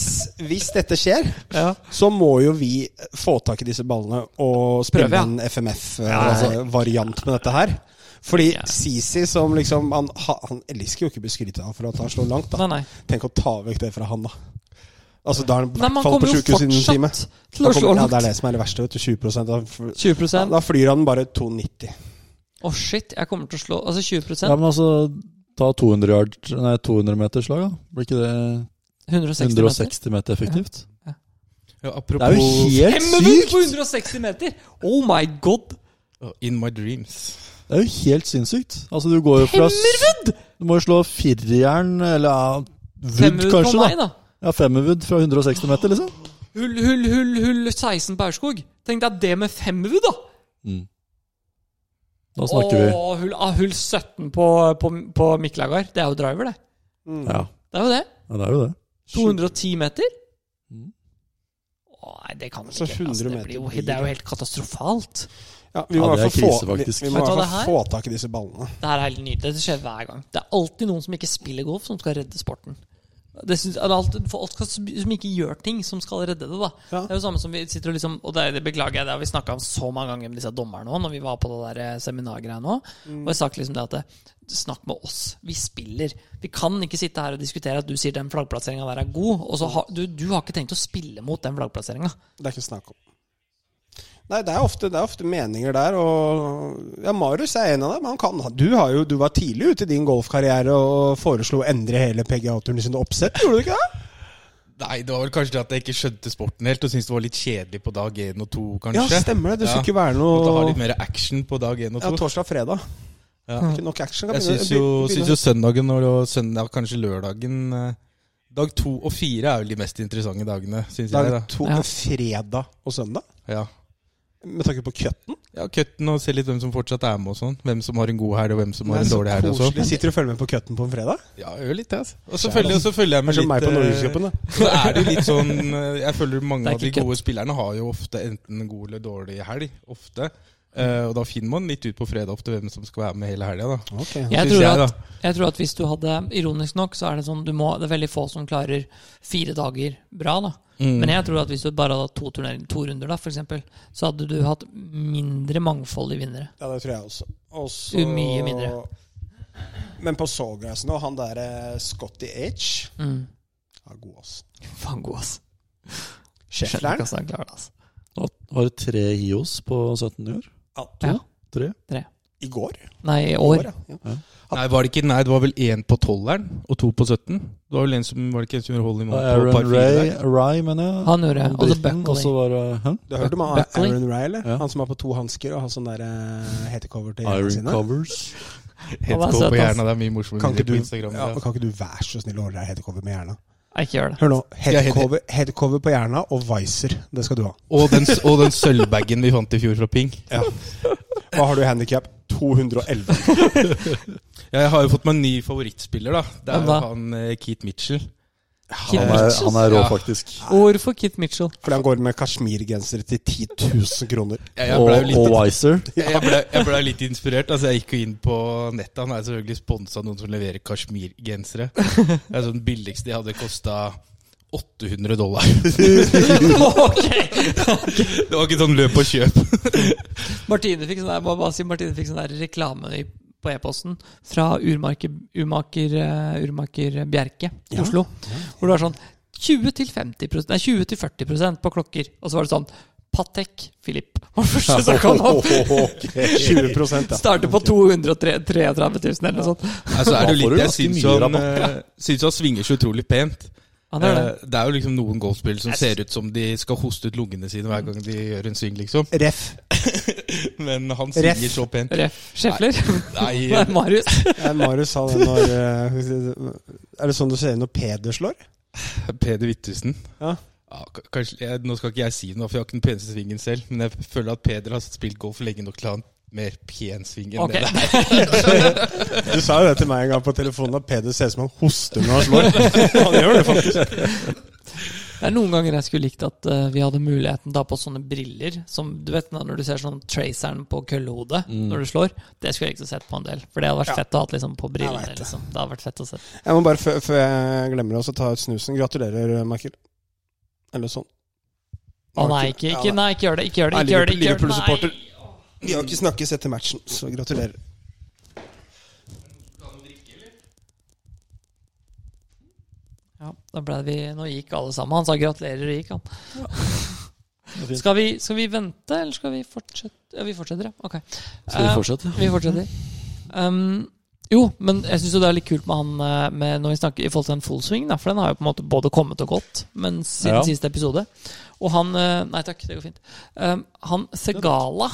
hvis dette skjer,
Ja.
så må jo vi få tak i disse ballene og spille
Prøve, ja. altså-
en FMF-variant eh, med dette her. Fordi Sisi, som liksom Han, ha- han elsker jo ikke å bli skrytt av for at han slår langt. da
Nei, nei.
Tenk å ta vekk det fra han, da. Altså, da er han i
Men
hvert
man
fall
kommer
på
jo
sjukehus innen en time.
fortsatt til å
Da
slå
kommer- Ja, det er
langt.
det som er det verste. Vet du, 20 av
20
Ja,
Å,
da flyr han bare 2,90.
shit. Jeg kommer til å slå Altså 20
Ja, men altså, ta 200, yard, nei, 200 meters slag, da. Blir ikke det
160 meter.
160 meter effektivt?
Ja,
Det er jo
apropos
helt
Hemmebil
sykt!
på 160 meter! Oh my god!
In my dreams.
Det er jo helt sinnssykt. Altså, du går jo fra
Hemmerwood!
Du må jo slå firejern, eller ja, wood,
Femmerwood på
kanskje,
meg,
da.
da.
Ja, Femmerwood fra 160 meter, liksom.
Hull, hull, hull, hull 16 på Aurskog. Tenk deg det med femmerwood, da!
Mm. Da snakker vi.
Åh, hull, ah, hull 17 på, på, på Miklagard. Det er jo driver, det.
Mm.
Ja,
Det er jo det.
ja, det er jo det.
210 meter?
Mm.
Åh, nei, det kan man
Så
ikke. Altså,
100
det, blir jo,
meter blir-
det er jo helt katastrofalt.
Ja, vi må
Ja,
i
det er
hvert fall
krise,
få, vi,
faktisk.
vi må i
Vet du
hvert
hva
fall få tak i disse ballene.
Det her er helt nydelig. Det skjer hver gang. Det er alltid noen som ikke spiller golf, som skal redde sporten. Det synes, er det alltid folk som- som ikke gjør ting, som skal redde det. da
Ja.
Det er jo samme som vi sitter og liksom Og det, er- det beklager jeg, det har vi snakka om så mange ganger med disse dommerne òg, når vi var på det der eh, seminargreiene òg. Og jeg sa liksom det at det, Snakk med oss. Vi spiller. Vi kan ikke sitte her og diskutere at du sier den flaggplasseringa der er god, og så har du, du har ikke tenkt å spille mot den flaggplasseringa.
Det er ikke snakk om. Nei, det er, ofte, det er ofte meninger der, og ja, Marius er en av dem. Han kan, du, har jo, du var tidlig ute i din golfkarriere og foreslo å endre hele PGA-turen sine oppsett, gjorde du ikke det?
Nei, det var vel kanskje det at jeg ikke skjønte sporten helt, og syntes det var litt kjedelig på dag én og to, kanskje.
Ja, stemmer det. Det
Ja.
skulle ikke være
Måtte ha
noe
litt mer action på dag én og
Ja,
to.
torsdag-fredag.
Ja.
Ikke nok action.
Jeg syns jo, syns jo søndagen og og søndag, kanskje lørdagen eh, Dag to og fire er vel de mest interessante dagene, syns jeg.
Dag
da
to,
Ja.
fredag og søndag.
Ja,
Med tanke på cutten.
ja Cutten og se litt hvem som fortsatt er med og sånn. Hvem som har en god helg, og hvem som
Det
har
er
en
så
dårlig helg. og sånn.
koselig. Sitter du og følger med på cutten på en fredag?
Ja, jeg gjør litt det, altså. Og så
Skjæra.
følger, og så følger jeg med
Kanskje
litt
meg på
eh,
Norgescupen, da.
Så er det jo litt sånn eh, Jeg føler mange
Det er
av de
ikke
gode spillerne har jo ofte enten en god eller dårlig helg. Ofte. Eh, og da finner man litt ut på fredag ofte hvem som skal være med hele helga, da.
Okay.
Jeg
Synes
tror,
jeg,
at, jeg tror at hvis du hadde Ironisk nok, så er det sånn du må, Det er veldig få som klarer fire dager bra, da. Men jeg tror at hvis du bare hadde hatt to, turnering- to runder, da, for eksempel, så hadde du hatt mindre mangfoldige vinnere.
Ja, det tror jeg også. Og så-
Jo, mye mindre.
Men på Sawgrass nå, han derre Scotty H
Mm.
ja, god, ass.
Faen god, ass. Skjønner ikke
Schäffleren?
hvordan han klarer det, ass.
Da Har du tre hios på 17 i år?
Ja,
Ja.
Tre?
I går?
Nei, i
I
år.
går, ja.
Nei, var det ikke, nei, det var vel én på tolveren og to på 17? Det var vel en som var det ikke en som gjorde hold i mål på par
Aaron
fire
Ray,
der?
Ray, mener jeg.
Han gjorde det. Og så
Britten, Og så
Buckley.
var det hæ?
Du hørte om han
Buckley?
Aaron Rye, eller?
Ja.
Han som har på to hansker og har sånn der eh, hetecover til hendene
Iron
sine?
Covers.
Han var
Helt på
søt,
på
ass.
hjerna, det er mye morsomme
Kan ikke, du,
bilder på Instagram. altså.
ja,
Ja.
men kan ikke du være så snill å ordne deg headcover med hjerna?
Nei, ikke gjør det.
Hør nå.
Jeg er helt-
Headcover, headcover på hjerna og Wiser. Det skal du ha.
Og den, s- og den sølvbagen vi fant i fjor fra Ping.
Hva har du i handikap? 211.
Ja, jeg har jo fått meg en ny favorittspiller, da. Det
Hvem
er
da?
jo han eh, Keith Mitchell.
Kit
Han er,
Mitchell.
han er rå,
Ja.
faktisk.
Hvorfor Kit Mitchell?
Fordi han går med kasjmirgenser til 10 000 kroner.
Jeg, jeg
Og,
ble jo litt
og Wiser.
Jeg jeg ble, jeg ble litt inspirert. Altså Jeg gikk jo inn på nettet. Han er selvfølgelig sponsa av noen som leverer kasjmirgensere. Det er sånn billigste de hadde kosta 800 dollar.
ok!
Det var ikke sånn løp og kjøp.
Martine fikk sånn der, må bare si Martine fikk sånn der reklame i på e-posten fra urmaker, urmaker, eh, urmaker Bjerke,
Ja.
Oslo. Hvor det var sånn 20-50 nei, 20-40 på klokker. Og så var det sånn Patek Philippe var det første som kom opp.
20 da.
Starter på 233 000 eller noe sånt.
Altså, er det jo
Da får
litt,
du
jeg
ganske
syns
mye
jo han,
rabatt.
eh, syns jo han svinger så utrolig pent.
Han er det.
Eh, Det er jo liksom noen golfspillere som
Jeg
ser ut som de skal hoste ut lungene sine hver gang de gjør en sving, liksom.
Ref.
Men han
Ref.
svinger så
Eh,
pent.
Ref. Schäffler.
Nei,
Nei, Marius.
Ja, Marius sa det når eh, Er det sånn du ser når Peder slår?
eh, Peder Wittusen.
Ja.
Ja, k- kanskje, jeg, nå skal ikke jeg si noe, for jeg har ikke den peneste svingen selv. Men jeg føler at Peder har spilt golf lenge nok til å ha en mer pen sving enn
Ok.
det der.
Du sa jo det til meg en gang på telefonen, at Peder ser ut som han hoster når han slår. Han gjør det faktisk.
Det er noen ganger jeg skulle likt at eh, vi hadde muligheten til å ha på sånne briller. Som du vet når du ser sånn traceren på køllehodet
Mm.
når du slår. Det skulle jeg likt å sett på en del. For det hadde vært fett å ha hatt liksom, på brillene.
vet det.
Liksom. Det hadde vært fett å se.
Jeg må bare, før, før jeg glemmer det, også ta ut snusen. Gratulerer, Michael. Eller sånn.
Å nei, ikke, ikke, nei, ikke gjør det. Ikke gjør det.
Nei,
Ikke gjør det, ikke gjør det.
Liverpool-supporter.
Nei.
Vi har ikke snakkes etter matchen, så gratulerer.
Ja, da ble vi, nå gikk alle sammen. Han sa gratulerer og gikk, han. Skal vi, skal vi vente, eller skal vi fortsette? Ja, vi fortsetter, ja. Ok.
Skal
Eh,
vi fortsette?
Vi fortsetter. Um, jo, men jeg syns jo det er litt kult med han eh, med når vi snakker i forhold til en full swing, da, for den har jo på en måte både kommet og gått men siden
Ja.
siste episode. Og han eh, Nei takk, det går fint. Um, han Segala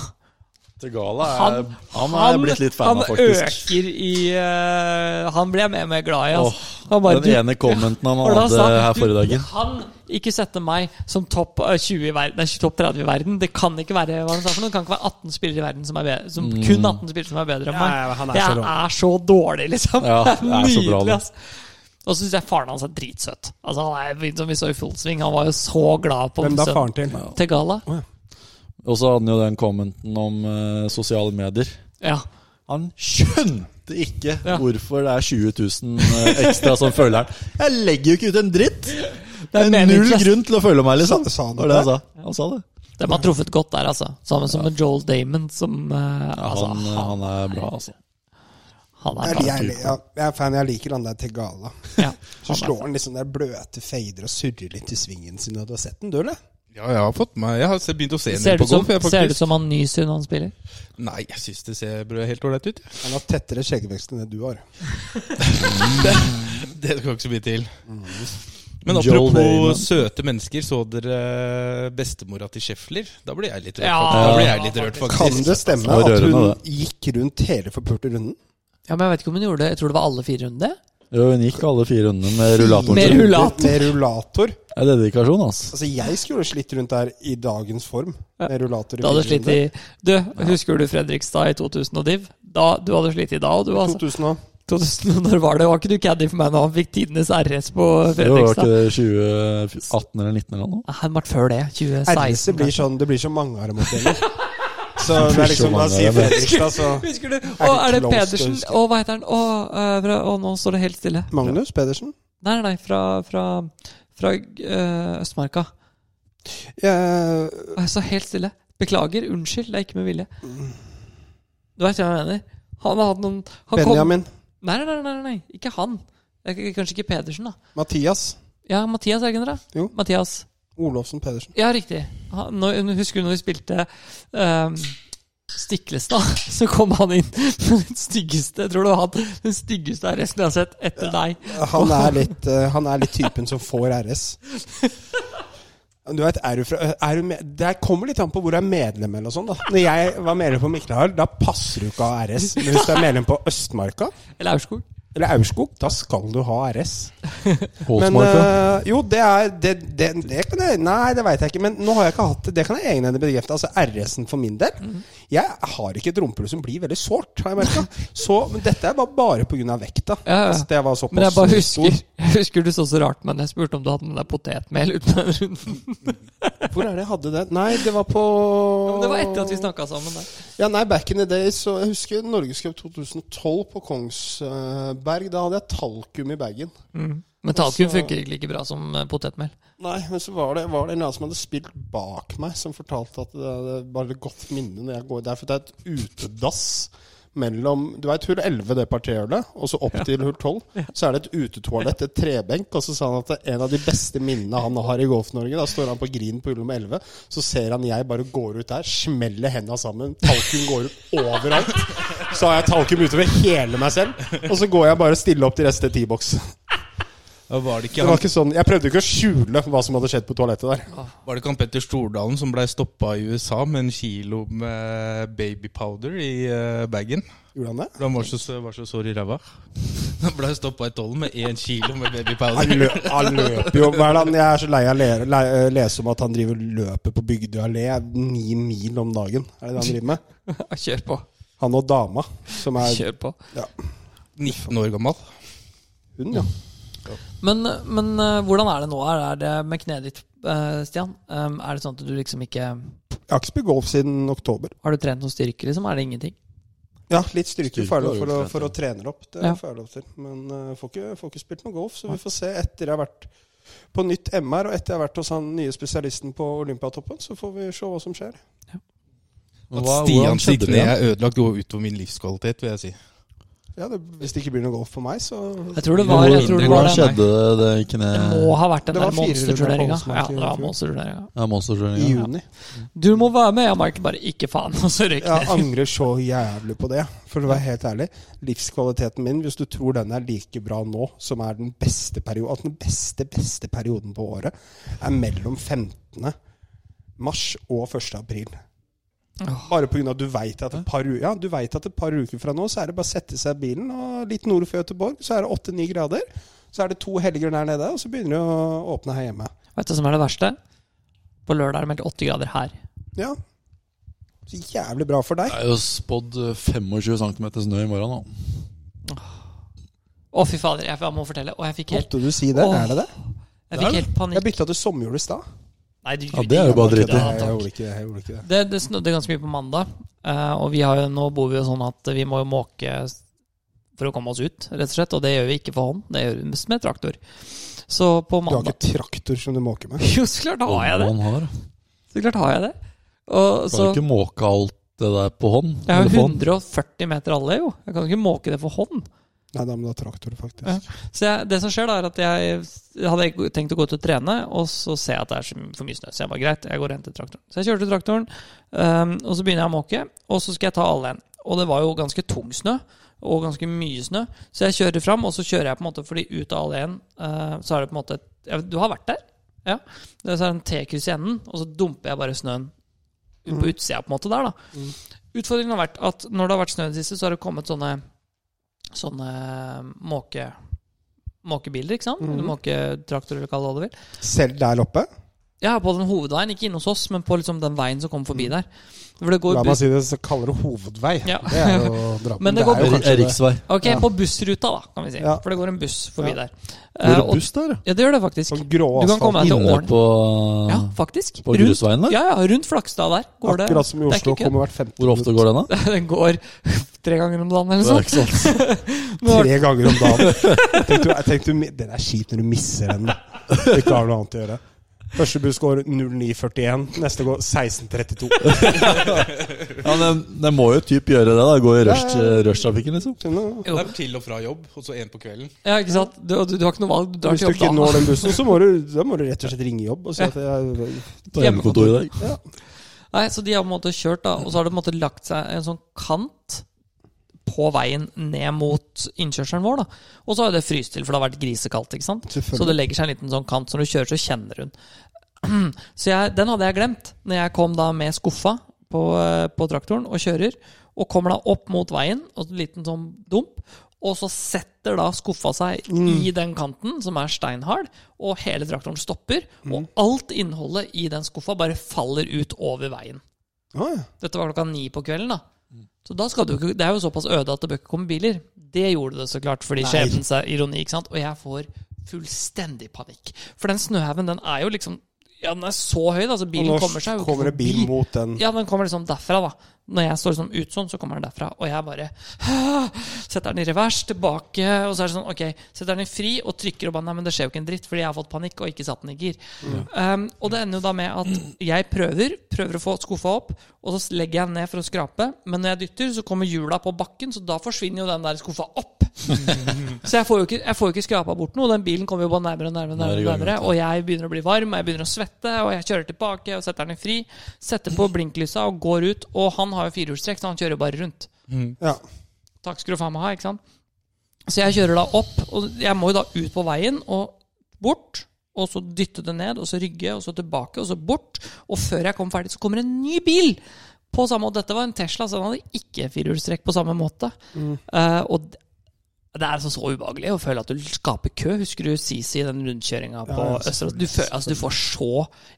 Tegala er,
Han-
han, er jeg blitt litt fan av,
han altså.
faktisk.
øker i eh, Han ble jeg mer og mer glad i. Altså. Han bare,
Den ene commenten han
for da
hadde
sa han,
her
du
forrige dagen.
kan ikke sette meg som topp eh, 20 i verden, nei, topp 30 i verden. Det kan ikke være hva han sa for noe. Det kan ikke være 18 spillere i verden som er bedre, som,
Mm.
kun 18 spillere som er bedre enn
Ja,
meg.
ja, han er
jeg
så rå.
er så dårlig, liksom.
Ja,
det er
det er så bra,
nydelig,
det.
ass. Og så syns jeg faren hans er dritsøt. Altså, han er, som vi så i Fullsving, han var jo så glad på
Hvem da
sønnen
faren til?
til Gala.
Og så hadde han jo den commenten om eh, sosiale medier.
Ja.
Han skjønte ikke
Ja.
hvorfor det er 20 000 eh, ekstra som følger han. Jeg legger jo ikke ut en dritt! Det er null
meningsløst.
grunn til å følge meg, liksom.
Sa han
Det var det han sa. Han sa det.
De har truffet godt der, altså. Sammen som med Joel Damon, som eh,
Ja,
altså,
han, han er bra, altså.
han er
Jeg,
bra.
jeg, jeg, jeg er fan, jeg liker han der til gala.
Ja,
Så
han er-
slår han liksom der bløte fader og surrer litt i svingen sin. Og du har sett den, du, eller?
Ja, jeg har fått meg Jeg har se- begynt å se
Ser det
henne på
ut som,
golf. Jeg,
ser det ut
faktisk.
som han nyser når han spiller?
Nei, jeg syns det ser bra- helt ålreit ut. jeg.
Han har tettere skjeggvekst enn det du har.
Det skal ikke så mye til. Men
Joel Damon.
apropos søte mennesker, så dere bestemora til Schäffler? Da blir jeg litt rørt,
Ja,
faktisk. Da blir jeg
ja,
litt rørt,
faktisk.
Kan
faktisk.
det stemme
Det var
at hun
rørende,
gikk rundt hele forpulte runden?
Ja, men Jeg vet ikke om hun gjorde det. Jeg tror det var alle fire runder.
Jo, hun gikk alle fire rundene med rullator.
Med
Det
rullator.
Med rullator.
er dedikasjon, altså.
Altså, jeg skulle slitt rundt der i dagens form. Med rullator. i
Da hadde du
fire
slitt i Du, husker du Fredrikstad i 2000 og div? Da, du hadde slitt i da og du,
runder.
altså.
2000 og
2000, når var det? Var ikke du caddy for meg da han fikk tidenes RS på
Det var ikke
Fredrikstad?
det 2018 eller 19 eller noe?
Nei, Han ble før det.
RS
2016.
blir sånn, det blir så mangearmodeller. Så det er liksom, da sier Fredrikstad så
Husker du? Å,
Er
er
det close
det
to
Pedersen?
huske?
Å, hva heter han? Å, eh, fra, å, nå står det helt stille.
Magnus Pedersen?
Nei, nei, nei, fra, fra, fra eh, Østmarka.
Ja,
Jeg sa helt stille. Beklager. Unnskyld. Det er ikke med vilje. Du veit hva jeg mener? Han har hatt noen han kom-
Benjamin.
Nei, nei, nei, nei, nei. Ikke han. Det er ikke- Kanskje ikke Pedersen, da.
Mathias.
Ja, Mathias er det ikke det? da?
Jo.
Mathias.
Olofsen Pedersen.
Ja, riktig. Han, nå, husker du når vi spilte ehm, Stiklestad? Så kom han inn med den styggeste Jeg tror det var han, den styggeste RS-en jeg har sett etter deg.
Han er litt, eh, han er litt typen som får RS. Du vet, er du fra, er du med, det kommer litt an på hvor du er medlem. eller noe sånt da Når jeg var medlem på Miklahall, da passer du ikke å ha RS. Men hvis du er medlem på Østmarka
Eller Aurskog.
eller Aurskog, da skal du ha RS. Men
Holsmarka.
øh, jo, det er det, det, det kan jeg Nei, det veit jeg ikke. Men nå har jeg ikke hatt det. Det kan jeg egenhendig bekrefte. Altså RS-en for min del.
Mhm.
Jeg har ikke et rumpehull som blir veldig sårt, har jeg merket Så men dette er bare, bare pga. vekta.
Ja, ja.
Altså, det var såpass
Men jeg bare
stor.
husker Jeg husker du så så rart på meg da jeg spurte om du hadde med deg potetmel uten den runden.
Hvor er det jeg hadde det? Nei, det var på
Men det var etter at vi snakka sammen der.
Ja, nei, back in the days. Så jeg husker Norgescup 2012 på Kongsberg. Da hadde jeg talkum i bagen.
Men talkum
Så-
funker ikke like bra som eh, potetmel.
Nei, men så var det, var det en eller annen som hadde spilt bak meg, som fortalte at det, det var et godt minne når jeg går der. For det er et utedass mellom Du veit hull 11, det parterølet, og så opp til hull 12. Så er det et utetoalett, et trebenk, og så sa han at en av de beste minnene han har i Golf-Norge Da står han på green på hull nummer 11, så ser han jeg bare går ut der, smeller henda sammen, talken går ut overalt. Så har jeg talken utover hele meg selv, og så går jeg bare stille opp til neste T-boks.
Ja, var, det ikke
Det var
han,
ikke sånn Jeg prøvde ikke å skjule hva som hadde skjedd på toalettet der.
var det ikke han Petter Stordalen som blei stoppa i USA med en kilo med babypowder i eh, bagen?
Gjorde han det?
For han var så, sø- var så sår i ræva. Han blei stoppa i tollen med én kilo med
Han,
babypowder.
lø, han løper jo Hva er det han- Jeg er så lei av å le- le- lese om at han driver løpet på Bygdøy allé ni mil om dagen. Er det det han driver med?
Kjør på.
Han og dama, som er
Kjør på.
ja,
19 år gammel.
hun, ja.
Men, men eh, hvordan er det nå? Er er det med kneet ditt, eh, Stian? Um, Er det sånn at du liksom ikke
Jeg har ikke spilt golf siden oktober.
Har du trent noen styrke, liksom? Er det ingenting?
Ja, litt styrke
Styrke
får jeg lov
har
for, å,
du trent,
for å trene det opp. Det
Ja.
får jeg lov til. Men eh, får, ikke, får ikke spilt noe golf, så vi får se etter jeg har vært på nytt MR, og etter jeg har vært hos han nye spesialisten på Olympiatoppen, så får vi se hva som skjer.
Men
At
hva- hvordan
Stian sitt
skjedde det
kne
igjen?
er ødelagt, går utover min livskvalitet, vil jeg si.
Ja, det, Hvis det ikke blir noe golf for meg, så
Jeg tror det var, jeg tror
Hvordan
det,
hvordan
var den,
skjedde det, det
det må
kneet?
ha vært den
Det var
der monsterturneringa.
400 på
Ja, det
Olsmark i
var
fjor.
monsterturneringa.
Ja,
i
monsterturneringa.
juni.
Du må være med! Jeg merker bare ikke faen. Og så røyk
Jeg
det.
angrer så jævlig på det. For å være helt ærlig, livskvaliteten min, hvis du tror den er like bra nå som er den beste perioden At den beste, beste perioden på året er mellom 15. mars og 1. april. Bare pga. at du veit at, et par u- ja, du vet at et par uker fra nå så er det bare å sette seg i bilen, og litt nord for Göteborg så er det 8-9 grader. Så er det to helger der nede, og så begynner det å åpne her hjemme.
Vet du hva som er det verste? På lørdag er det meldt 80 grader her.
Ja. Så jævlig bra for deg.
Det er jo spådd eh, 25 cm snø i morgen nå.
Å, fy fader. Jeg, jeg må fortelle. Og jeg fikk helt,
Måtte du si det?
Åh.
Er det det?
jeg fikk helt
Jeg
panikk.
bytta til sommerhjul i stad.
Nei, du
Ja,
gjorde
det er jo bare dritt.
Jeg,
i.
takk.
gjorde ikke det. Jeg gjorde ikke det.
Det, det snødde ganske mye på mandag, eh, og vi har jo, nå bor vi jo sånn at vi må jo måke for å komme oss ut, rett og slett. Og det gjør vi ikke for hånd, det gjør vi med traktor. Så på
Du har
mandag
ikke traktor som du måker med?
Jo, så klart har jeg det!
Hånd har.
Så klart har jeg det. Og
Kan
så
du ikke måke alt det der på hånd?
Jeg har
Eller
jo
på hånd?
140 meter alle, jo. Jeg kan jo ikke måke det for hånd.
Nei, da må du ha traktor, faktisk.
Ja. Så jeg, det som skjer, da, er at jeg, jeg hadde ikke tenkt å gå ut og trene, og så ser jeg at det er så m- for mye snø. Så jeg bare greit, jeg går og henter traktoren. Så jeg kjørte traktoren, øhm, og så begynner jeg å måke, og så skal jeg ta alle en. Og det var jo ganske tung snø, og ganske mye snø, så jeg kjører fram, og så kjører jeg på en måte, fordi ut av alle en, øh, så er det på en måte et, jeg, vet- Du har vært der? Ja. Det er så er det en T-kryss i enden, og så dumper jeg bare snøen på utsida på en måte der, da. Utfordringen har vært at når det har vært snø i det siste, så har det kommet sånne sånne eh, måke, måkebiler, ikke sant?
Mhm.
Eller Måketraktor, eller kall det hva du vil.
Selv der oppe?
Ja, på den hovedveien, ikke inne hos oss, men på liksom den veien som kommer forbi der. For det går
Mhm. La
jo
meg
buss...
si det, så kaller det hovedvei.
Ja.
Det er jo Drammen.
Men det går
er jo
Er-
kanskje
er Riksvei.
Ok,
Ja.
på bussruta, da, kan vi si.
Ja.
For det går en buss forbi
Ja.
der. Eh,
Blir det
og-
buss der?
Ja, det gjør det faktisk.
Sånn grå
Du kan komme
asfalt.
deg til
Inne
Åren.
på,
Ja, faktisk.
på
Rundt,
grusveien der?
ja, ja, rundt Flakstad der går det
Akkurat som i
det er
Oslo
ikke kø.
kommer hvert femte
Hvor ofte går den, da?
Den går tre ganger om dagen, eller
Det
noe
er
sånt.
ikke sant.
Nå-
Tre ganger om dagen. Tenkte du, jeg tenkte, du mi- den er kjipt når du misser den. da. Ikke har noe annet å gjøre. Første buss går 09.41, neste går 16.32.
Ja, den, den må jo typ gjøre det. da, Gå i rush-
Ja, ja, ja.
rushtrafikken, liksom.
Skjønner du?
Jo.
Det er til og fra jobb, og så en på kvelden.
Ja, ikke sant? Du, du, du har ikke noe valg. Du drar
Hvis du
til
ikke
jobb da.
når den bussen, så må du, da må du rett og slett ringe jobb og si at jeg,
På hjemmekontor i dag.
Nei, så de har på en måte kjørt, da, og så har det på en måte lagt seg en sånn kant på veien ned mot innkjørselen vår. da. Og så har jo det fryst til, for det har vært grisekaldt. ikke sant?
Selvfølgelig.
Så det legger seg en liten sånn kant. Så når du kjører, så kjenner hun. Så jeg, den hadde jeg glemt når jeg kom da med skuffa på, eh, på traktoren og kjører. Og kommer da opp mot veien, og en liten sånn dump. Og så setter da skuffa seg i den kanten, som er steinhard, og hele traktoren stopper. Og alt innholdet i den skuffa bare faller ut over veien.
Å, ja.
Dette var klokka ni på kvelden, da.
Mm.
Så da skal du ikke, Det er jo såpass øde at det bør ikke komme biler. Det gjorde det så klart, fordi
Nei.
skjebnens er ironi, ikke sant. Og jeg får fullstendig panikk. For den snøhaugen, den er jo liksom Ja, den er så høy, da, så bilen
Og nå
kommer seg jo ikke
kommer det bil
forbi.
mot den.
Ja, den kommer liksom derfra, da. Når jeg står liksom ut sånn, så kommer den derfra, og jeg bare setter den i revers, tilbake, og så er det sånn, ok, setter den i fri og trykker og bare, nei, men det skjer jo ikke en dritt, fordi jeg har fått panikk og ikke satt den i gir. Um, og det ender jo da med at jeg prøver, prøver å få skuffa opp, og så legger jeg den ned for å skrape, men når jeg dytter, så kommer hjula på bakken, så da forsvinner jo den der skuffa opp. så jeg får jo ikke, jeg får jo ikke skrapa bort noe, og den bilen kommer jo bare nærmere og nærmere,
Nå er det i
nærmere,
gang,
nærmere,
vet du.
og jeg begynner å bli varm, og jeg begynner å svette, og jeg kjører tilbake og setter den i fri, setter på blinklysa og går ut, og han har jo firehjulstrekk, så han kjører jo bare rundt.
Ja.
Takk skal du faen meg ha, ikke sant? Så jeg kjører da opp, og jeg må jo da ut på veien og bort, og så dytte det ned, og så rygge, og så tilbake, og så bort. Og før jeg kom ferdig, så kommer en ny bil! På samme måte. Dette var en Tesla, så den hadde ikke firehjulstrekk på samme måte.
Mm.
Eh, og d- det er altså så ubehagelig å føle at du skaper kø. Husker du Sisi i den rundkjøringa på
Ja, ja,
Østerås? Du, føler- altså, du får så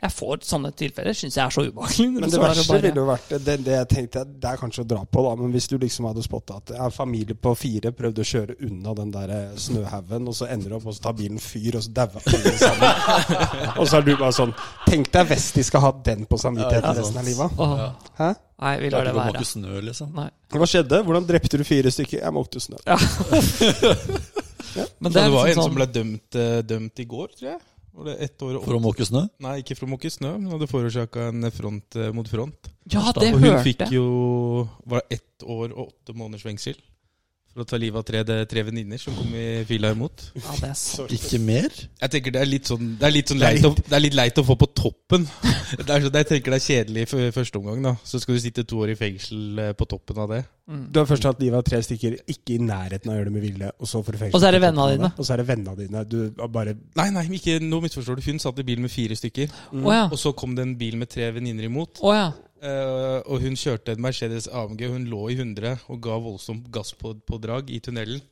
Jeg får sånne tilfeller, syns jeg er så ubehagelig.
Men
Så
det
er
verste
bare-
ville jo vært det, det jeg tenkte jeg, Det er kanskje å dra på, da, men hvis du liksom hadde spotta at en familie på fire prøvde å kjøre unna den der eh, snøhaugen, og så ender det opp, og så tar bilen fyr, og så dauer alle sammen. og så er du bare sånn Tenk deg hvis de skal ha den på samvittigheten
Ja, det er
resten av
sant.
livet.
Åh,
Hæ?
Nei, vi lar
Klarte
det
ikke å
være.
måke snø, liksom.
Nei.
Hva skjedde? Hvordan drepte du fire stykker? Jeg måkte snø.
Men
Det,
det er
var en
liksom
som
sånn
ble dømt, eh, dømt i går, tror jeg. Var det ett år og
For å måke snø?
Nei, ikke for å måke snø, men hadde forårsaka en front eh, mot front.
Ja, det
og hun
hørte
fikk
jeg.
jo var det ett år og åtte måneders fengsel for å ta livet av tre, det- tre venninner som kom i fila imot.
Ja, det er sant.
Ikke mer?
Jeg tenker Det er litt sånn Det er litt, sånn leit, å, det er litt leit å få på toppen. Det er, så- jeg tenker det er kjedelig for første omgang, da. Så skal du sitte to år i fengsel eh, på toppen av det.
Du har først hatt livet av tre stykker, ikke i nærheten av å gjøre det med vilje, og så får du fengsel.
Og så er det vennene dine.
Og så er det vennene dine. Du har bare
Nei, nei, men ikke, nå misforstår du. Hun satt i bil med fire stykker.
Å ja.
Og så kom det en bil med tre venninner imot.
Å ja.
Eh, og hun kjørte en Mercedes AMG. Hun lå i 100 og ga voldsomt gasspådrag i tunnelen.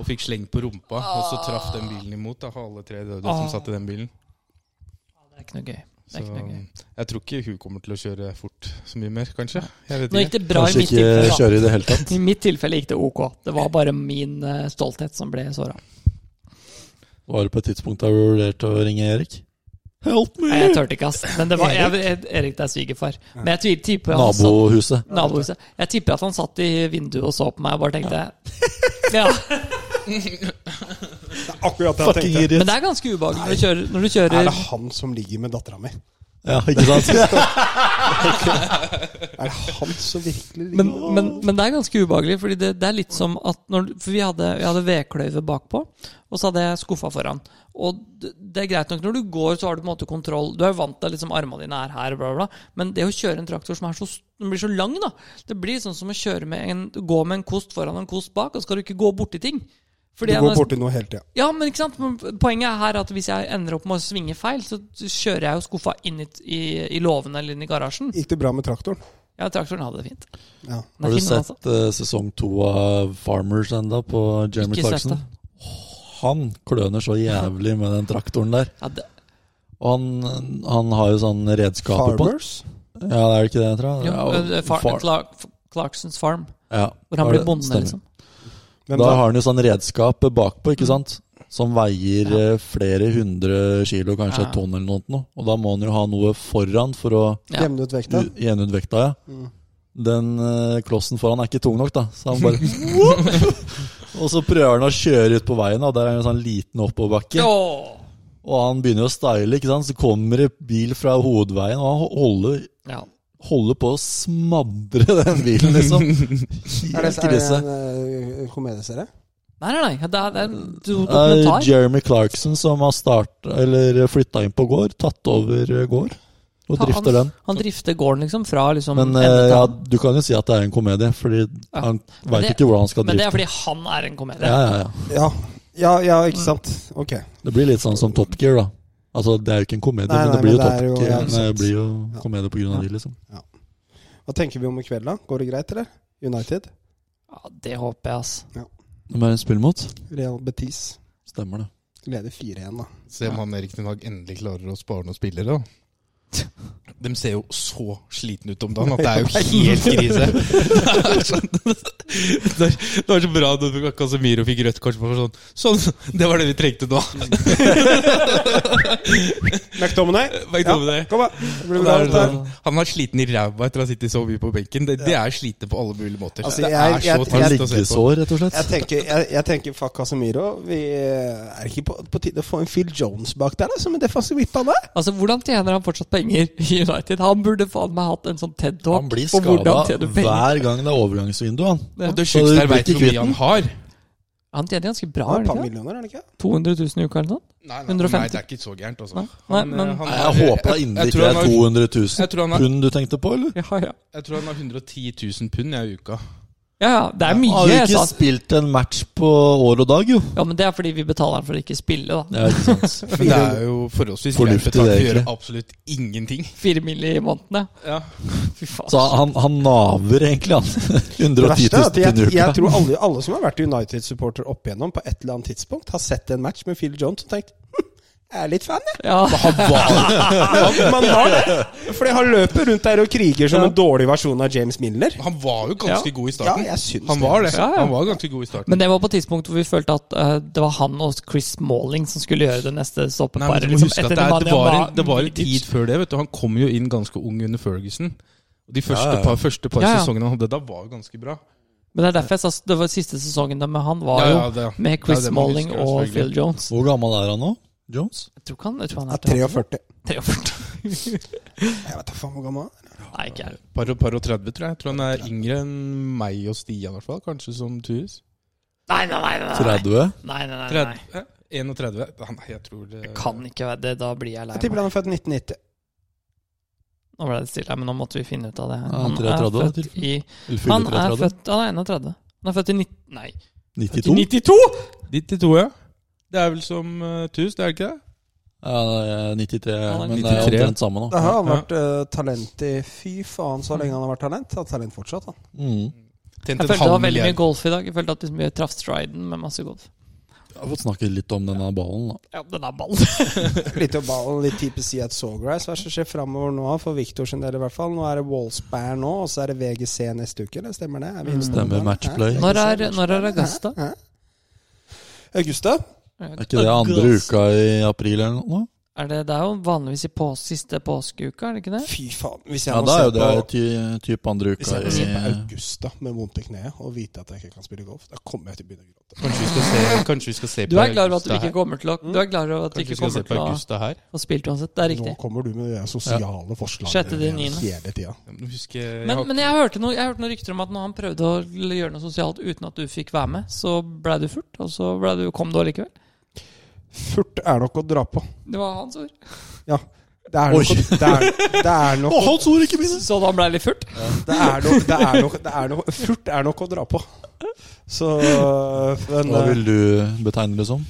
Og fikk slengt på rumpa, og så traff den bilen imot. Da, og alle tre døde som
Ah.
satt i den bilen.
Det er ikke noe gøy. Det
Så
er ikke noe gøy.
jeg tror ikke hun kommer til å kjøre fort så mye mer, kanskje. Jeg vet
Nå gikk
ikke.
det bra i
Kanskje
mitt
ikke
tilfelle.
kjøre i det hele tatt.
da. I mitt tilfelle gikk det ok. Det var bare min eh, stolthet som ble såra.
Var det på et tidspunkt der du vurderte å ringe Erik? Help me!
Jeg turte ikke, ass. Men det var jeg, jeg, Erik, det er svigerfar. Men jeg tviler tipper han satt,
Nabohuset.
nabohuset. Jeg tipper at han satt i vinduet og så på meg og bare tenkte ja.
Akkurat det jeg
Fucking
tenkte.
Men
idiot.
det er ganske ubehagelig når du kjører, når du
Er
kjører
det han som ligger med dattera mi?
Ja, ikke sant?
Er det han som virkelig ligger
men, men, men det er ganske ubehagelig, Fordi det, det er litt som at når, For vi hadde, vi hadde vedkløyve bakpå, og så hadde jeg skuffa foran. Og det, det er greit nok når du går, så har du på en måte kontroll. Du er jo vant til at liksom, armene dine er her, bla, bla. bla. Men det å kjøre en traktor som er så, s- den blir så lang, da Det blir sånn som å kjøre med en, gå med en kost foran og en kost bak, og så skal du ikke gå borti ting. Fordi
Du
jeg
går
nesten-
borti noe hele tida.
ja, men ikke sant? Men Poenget er her at hvis jeg ender opp med å svinge feil, så kjører jeg jo skuffa inn i, i, i låven eller inn i garasjen.
Gikk det bra med traktoren?
Ja, traktoren hadde det fint. Den
Ja.
er
Har du
fin, den, altså.
sett eh, sesong to av Farmers enda på Jeremy
Ikke sett
Clarkson?
det.
Han kløner så jævlig med den traktoren der.
Ja, det,
Og han, han har jo sånne redskaper
Farmers?
på. Ja, det er det ikke det jeg tror?
Jo,
Ja, og
eh, far,
far-
Clark, Clarksons Farm,
ja,
hvor han
var
ble
det-
bonde,
stemmer.
liksom. Mm.
Hvem
Da
da?
har han jo sånn redskap bakpå, ikke sant? Som veier eh, flere hundre kilo, kanskje
Ja.
et tonn eller noe sånt. nå. Og da må han jo ha noe foran for å
Ja.
Jevne ut vekta?
u- jevne ut vekta, ja. Den eh, klossen foran er ikke tung nok, da. Så han bare Og så prøver han å kjøre ut på veien, og der er det en sånn liten oppoverbakke.
Åh!
Og han begynner jo å style, ikke sant? så kommer det bil fra hovedveien, og han holder,
Ja.
holder på å smadre den bilen, liksom.
Er det,
Helt
er det
krise.
en eh, komedieserie?
Nei, nei, nei. Det er, det er en do-
Det er
dokumentar.
Jeremy Clarkson som har starta, eller flytta inn på gård, tatt over eh, gård, og
Ja,
drifter den.
Han drifter gården, liksom, fra liksom
Men
ende
eh,
til
ja,
annen.
du kan jo si at det er en komedie, fordi
Ja.
han
Men
veit
det-
ikke hvordan han skal
Men det
drifte.
er fordi han er en komedie.
Ja, ja, ja.
Ja. ja, ja, ikke sant. Ok.
Det blir litt sånn som Top Gear, da. Altså, det er jo ikke en komedie,
Nei,
men det
nei,
blir jo
men
Top
det er jo-
Gear.
ja,
men det
sant.
blir jo
Ja.
komedie på grunn av de, liksom.
Hva tenker vi om i kveld, da? Går det greit, eller? United?
Ja, det håper jeg, ass.
Hvem er det hun spiller mot?
Real Betis
Stemmer det.
leder 4-1, da.
Se om han Erik Nag endelig klarer å spare noen spillere. da. De ser jo så slitne ut om dagen at det er jo helt krise. Det er sånn- Det er, det var så bra da Casemiro fikk rødt kort. for Sånn, sånn, det var det vi trengte nå.
McDominay.
Eh, McTominay.
kom da. Det blir
Det
bra,
er
dette her.
sånn, han har sliten i ræva etter å ha sittet så mye på benken. Det, det er slite på alle mulige måter.
Altså,
det
jeg-
er
jeg-
så
jeg-
Han
trist å se på.
liggesår, rett og slett.
Jeg tenker, jeg, jeg tenker fuck Casemiro. Vi eh, er ikke på, på tide å få en Phil Jones bak der, da, som en defensiv midtbane?
Altså, Hvordan tjener han fortsatt penger i United? Han burde faen meg hatt en sånn TED-talk
Han blir
om hvordan
skada
tjener penger.
hver gang det er overgangsvindu, han.
Ja.
Og det sjukeste
Så
er,
du blir
veit du
ikke
hvor
kvitt
mye han har?
Han tjener ganske bra,
Han
er
er et par
det ikke?
millioner, er det ikke?
200 000 i uka eller noe?
Nei, nei,
150.
nei, det er ikke så gærent, altså.
Nei, nei,
Han, eh,
men-
han
Nei,
har-
jeg håper inderlig
jeg
ikke
tror
det
han
er
har-
200
Jeg
000
tror han har,
pund du tenkte på, eller?
Ja, ja.
jeg tror han har 110 000 pund i uka.
ja, ja. Det er mye.
Har jo
jeg
ikke
altså.
sa.
spilt en match på år og dag, jo.
Ja, men det er fordi vi betaler han for å ikke spille, da.
Ja, ikke sant.
Men det er jo forholdsvis greit
Fornuftig,
betalt for å
det,
gjøre
egentlig.
absolutt ingenting.
Fire mil i måneden, ja.
Ja.
Fy faen.
Så Altså, han, han naver egentlig, han.
Det
110
verste er
000
at jeg,
pund i uka.
jeg tror alle, alle som har vært United-supporter opp igjennom, på et eller annet tidspunkt har sett en match med Phil Jones og tenkt hm, jeg er litt fan, jeg.
Ja.
Men Man har det. Fordi han løper rundt der og kriger som en dårlig versjon av James Milner.
Han var jo ganske
Ja.
god i
Ja,
starten.
jeg syns
Han var det.
Ja, ja.
Han var ganske god i starten.
Men det var på et tidspunkt hvor vi følte at eh, det var han og Chris Malling som skulle gjøre det neste
Nei, men
stoppeparet.
du må
liksom,
huske at
etter
det, er, det,
Nemanja
var en,
Ba-
det var en
Vidic.
tid før det. vet du Han kom jo inn ganske ung under Ferguson. Og De første
Ja, ja.
par, første par
Ja, ja.
sesongene han hadde da, var jo ganske bra.
Men det er derfor jeg sa det var siste sesongen med han var
Ja,
jo
ja, det, ja.
med
Det
Chris
er det man
Malling
husker,
og
selvfølgelig.
Phil Jones.
Hvor gammel er han nå? Jones?
Jeg tror ikke han, jeg tror han
Ja,
er
43.
43.
Jeg vet da faen hvor gammel han er.
Nei, ikke jeg.
Par, og- par og 30, tror jeg. Jeg tror han er yngre enn meg og Stian, i hvert fall. Kanskje som Turis.
Nei, nei, nei. nei, nei.
30?
Nei, nei, nei, nei.
30, eh, 31 Ja, Nei, jeg tror det
Kan ikke være det. Da blir jeg lei
Jeg tipper
meg.
han er født 1990.
Nå ble det stille, men nå måtte vi finne ut av det.
Ja, 33
er
da,
født i
Eller
Han
fyller
er
33?
født Han er 31. Han er født i 19... Nei.
92?
92!
92, ja. Det er vel som uh, Turis, det er det ikke det?
Ja, jeg er 93,
Han er
men det er
93.
omtrent samme nå.
Det har han
Ja.
vært eh, talent i Fy faen, så lenge han har vært talent. Han har talent fortsatt, han.
Mm.
Tjent
Jeg
en
følte det
halv
var veldig mye
milliard.
golf i dag. Jeg følte at liksom jeg traff striden med masse golf.
Jeg har fått snakket litt om denne ballen, da.
Ja, den er ball.
Litt om ballen, litt type si at Sawgrass. Hva er det som skjer framover nå for Victor sin del, i hvert fall? Nå er det Wallspair nå, og så er det VGC neste uke. eller Stemmer det? Er vi
Mm.
inne på
Stemmer
den?
matchplay.
Hæ?
Når er,
VGC
når er
matchplay?
Augusta?
Hæ? Hæ? Augusta?
Er ikke det andre uka i april eller noe?
Er det, det er jo vanligvis i pås, siste påskeuka, er det ikke det?
Fy faen. Hvis jeg
Ja,
må
da
se
er jo det
på-
ty, typ andre
Hvis
uka
jeg må se på
i
Augusta med vondt i kneet og vite at jeg ikke kan spille golf, da kommer jeg til å begynne å gråte.
Kanskje vi skal se, kanskje vi skal se
Du
på
er klar over at du
Augusta
ikke
her.
kommer til å Du er klar over at du
Kanskje
ikke
vi skal se
kommer til
på
å
Augusta her.
få spilt uansett. Det er riktig.
Nå kommer du med de sosiale forslagene
Sjette til
dine
niende.
hele tida.
Ja, men Husker, jeg
Men,
har-
men jeg hørte noen noe rykter om at når han prøvde å l- gjøre noe sosialt uten at du fikk være med, så blei du furt, og så ble du, kom du allikevel.
Furt er nok å dra på.
Det var hans ord.
Det er
Oi.
nok, å- det er, det er nok
Å, hans ord, ikke mine!
Så da blei litt furt?
Det er nok, det er nok, det er nok Furt er nok å dra på. Så men,
Hva vil du betegne det som?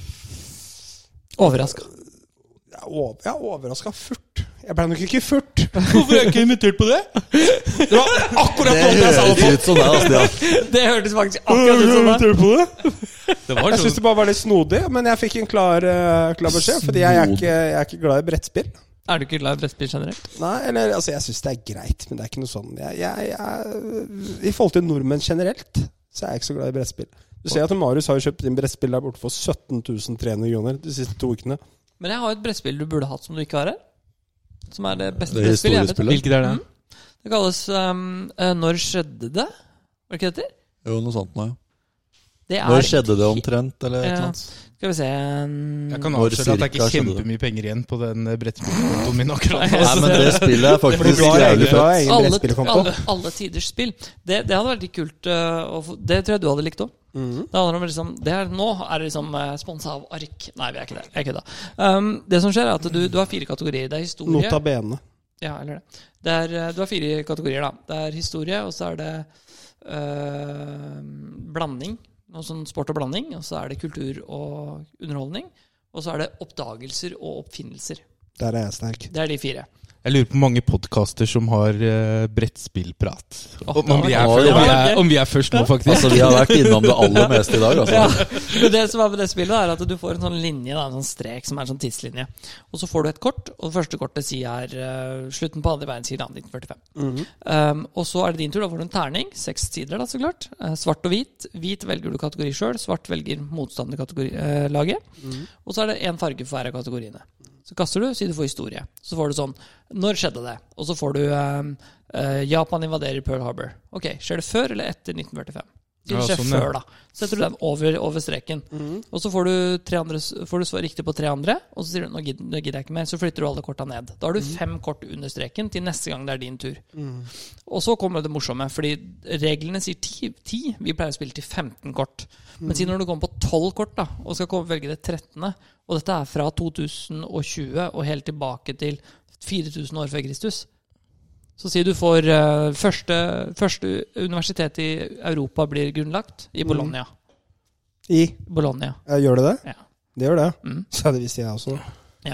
Overraska.
Jeg er over- jeg er overraska furt. Jeg ble nok ikke furt.
Hvorfor er jeg ikke invitert på det?
Det var akkurat
Det høres ut som deg, altså.
Det hørtes faktisk akkurat ut som det.
Det var sånn-
Jeg syns det bare var litt snodig, men jeg fikk en klar, eh, klar beskjed. Fordi jeg er,
Snodig.
ikke, jeg er ikke glad i brettspill.
Er du ikke glad i brettspill generelt?
Nei, eller altså, jeg syns det er greit, men det er ikke noe sånn jeg, jeg, jeg, I forhold til nordmenn generelt, så er jeg ikke så glad i brettspill. Du ser at Marius har jo kjøpt inn brettspill der borte for 17 300 kroner de siste to ukene.
Men jeg har et brettspill du burde hatt som du ikke har her. Som er det beste
Det er
brettspillet jeg vet.
historiespillet.
Hvilket er det?
Det kalles ehm, eh, Når skjedde det? Var det ikke det heter?
Jo, noe sånt noe.
Det er
Når skjedde det omtrent, eller et
Ja.
eller annet?
Skal vi se ehm,
Jeg kan
Når
avsløre at det er
cirka
ikke
skjedde det?
kjempemye penger igjen på den eh, brettspillkontoen min akkurat nå.
Nei, men det spillet er faktisk
blir bra,
jævlig
egentlig.
fett.
egen
alle,
brettspillkonto.
alle, alle tiders spill. Det, det hadde vært litt kult. eh, å få- det tror jeg du hadde likt òg.
Mhm.
Det handler om liksom det er, Nå er det liksom uh, sponsa av ark. Nei, vi er ikke der. Jeg kødda. Um, det som skjer, er at du, du har fire kategorier. Det er historie
Nota bene.
ja, eller det. Det er, eh, Du har fire kategorier, da. Det er historie, og så er det eh, blanding. Noe sånn sport og blanding. Og så er det kultur og underholdning. Og så er det oppdagelser og oppfinnelser.
Der er jeg sterk.
Det er de fire.
Jeg lurer på mange podkaster som har eh, brettspillprat.
Åh,
Om, om, vi er,
det
før- om,
var gøy.
vi er, om vi er først nå, faktisk.
Altså, vi har vært innom det aller meste i dag. Altså.
Ja, men det som er med det spillet, er at du får en sånn linje, da, en sånn strek som er en sånn tidslinje. Og så får du et kort, og det første kortet sier eh, slutten på andre verdenskrig, da, 1945. um, og så er det din tur. Da får du en terning. Seks sider, da, så klart. Eh, svart og hvit. Hvit velger du kategori sjøl, svart velger motstanderlaget. Og så er det én farge for hver av kategoriene. Så kaster du, sier du får historie. Så får du sånn Når skjedde det? Og så får du ehm, eh, Japan invaderer Pearl Harbor. Ok, skjer det før eller etter 1945? Sier det
Ja,
skjer
sånn, ja.
før, da. Setter du den over, over streken. Og så får du, tre andre, får du svar riktig på tre andre, og så sier du nå gidder, nå gidder jeg ikke mer. Så flytter du alle korta ned. Da har du fem kort under streken til neste gang det er din tur. Og så kommer det morsomme, fordi reglene sier 10. 10. Vi pleier å spille til 15 kort. Men si når du kommer på 12 kort da, og skal komme, velge det 13., og dette er fra 2020 og helt tilbake til 4000 år før Kristus Så sier du får eh, første, første universitet i Europa blir grunnlagt i Bologna.
I.
Bologna.
Ja, gjør det det?
Ja.
Det gjør det.
Mm.
Så ja, det visste jeg også.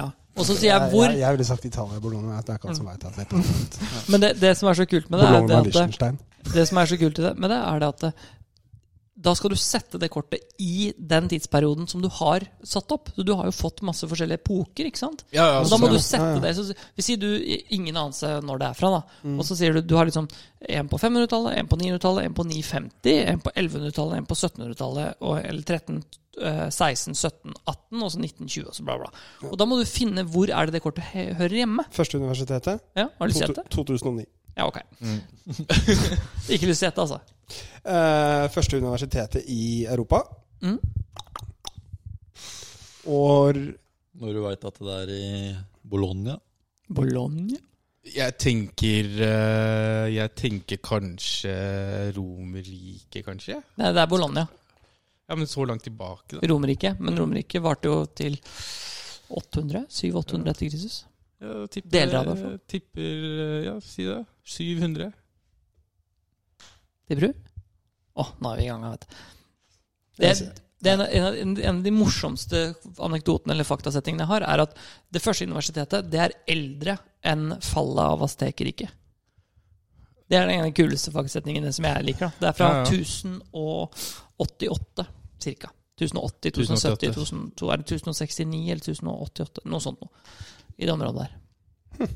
Ja. Og så sier jeg hvor
Jeg, jeg ville sagt Italia og Bologna. men Det er ikke alle som vet at det er på
Men det, det som er så kult med det, er
Bologna og
det at eh,
Liechtenstein.
Det som er så kult i det, med det, er det at eh, da skal du sette det kortet i den tidsperioden som du har satt opp. Så du har jo fått masse forskjellige epoker, ikke sant?
Ja, ja,
Men da må
sånn,
du
ja.
sette det så, Hvis sier du ingen anelse når det er fra, da. Og så sier du du har liksom en på 500-tallet, en på 900-tallet, en på 950, en på 1100-tallet, en på 1700-tallet, og- eller 13, eh, 16, 17, 18, og så 1920, og så bla, bla. Og da må du finne hvor er det det kortet he- hører hjemme.
Første universitetet.
Ja, har du lyst til å gjette?
2009.
Ja, ok. Ikke lyst til å gjette, altså.
Eh, første universitetet i Europa.
Mm.
Og
Når du veit at det er i Bologna.
Bologna?
Jeg tenker eh, Jeg tenker kanskje Romerriket, kanskje?
Nei, det er Bologna.
Ja, men så langt tilbake, da.
Romerike. Men Romerike varte jo til 800? 700-800 etter Kristus.
Ja, tipper,
Deler av det, i hvert fall.
Tipper eh, Ja, si det. 700.
Til bru? Å, nå er vi i gang, jeg vet det.
Jeg
Er, det er en, en, av- en, en av de morsomste anekdotene eller faktasettingene jeg har, er at det første universitetet det er eldre enn fallet av Aztekerriket. Det er den ene kuleste faktasetningen som jeg liker. da. Det er fra
Ja, ja.
1088, ca. 1080, 1070, 1000, så er det 1069 eller 1088, noe sånt noe. I det området der.
Hm.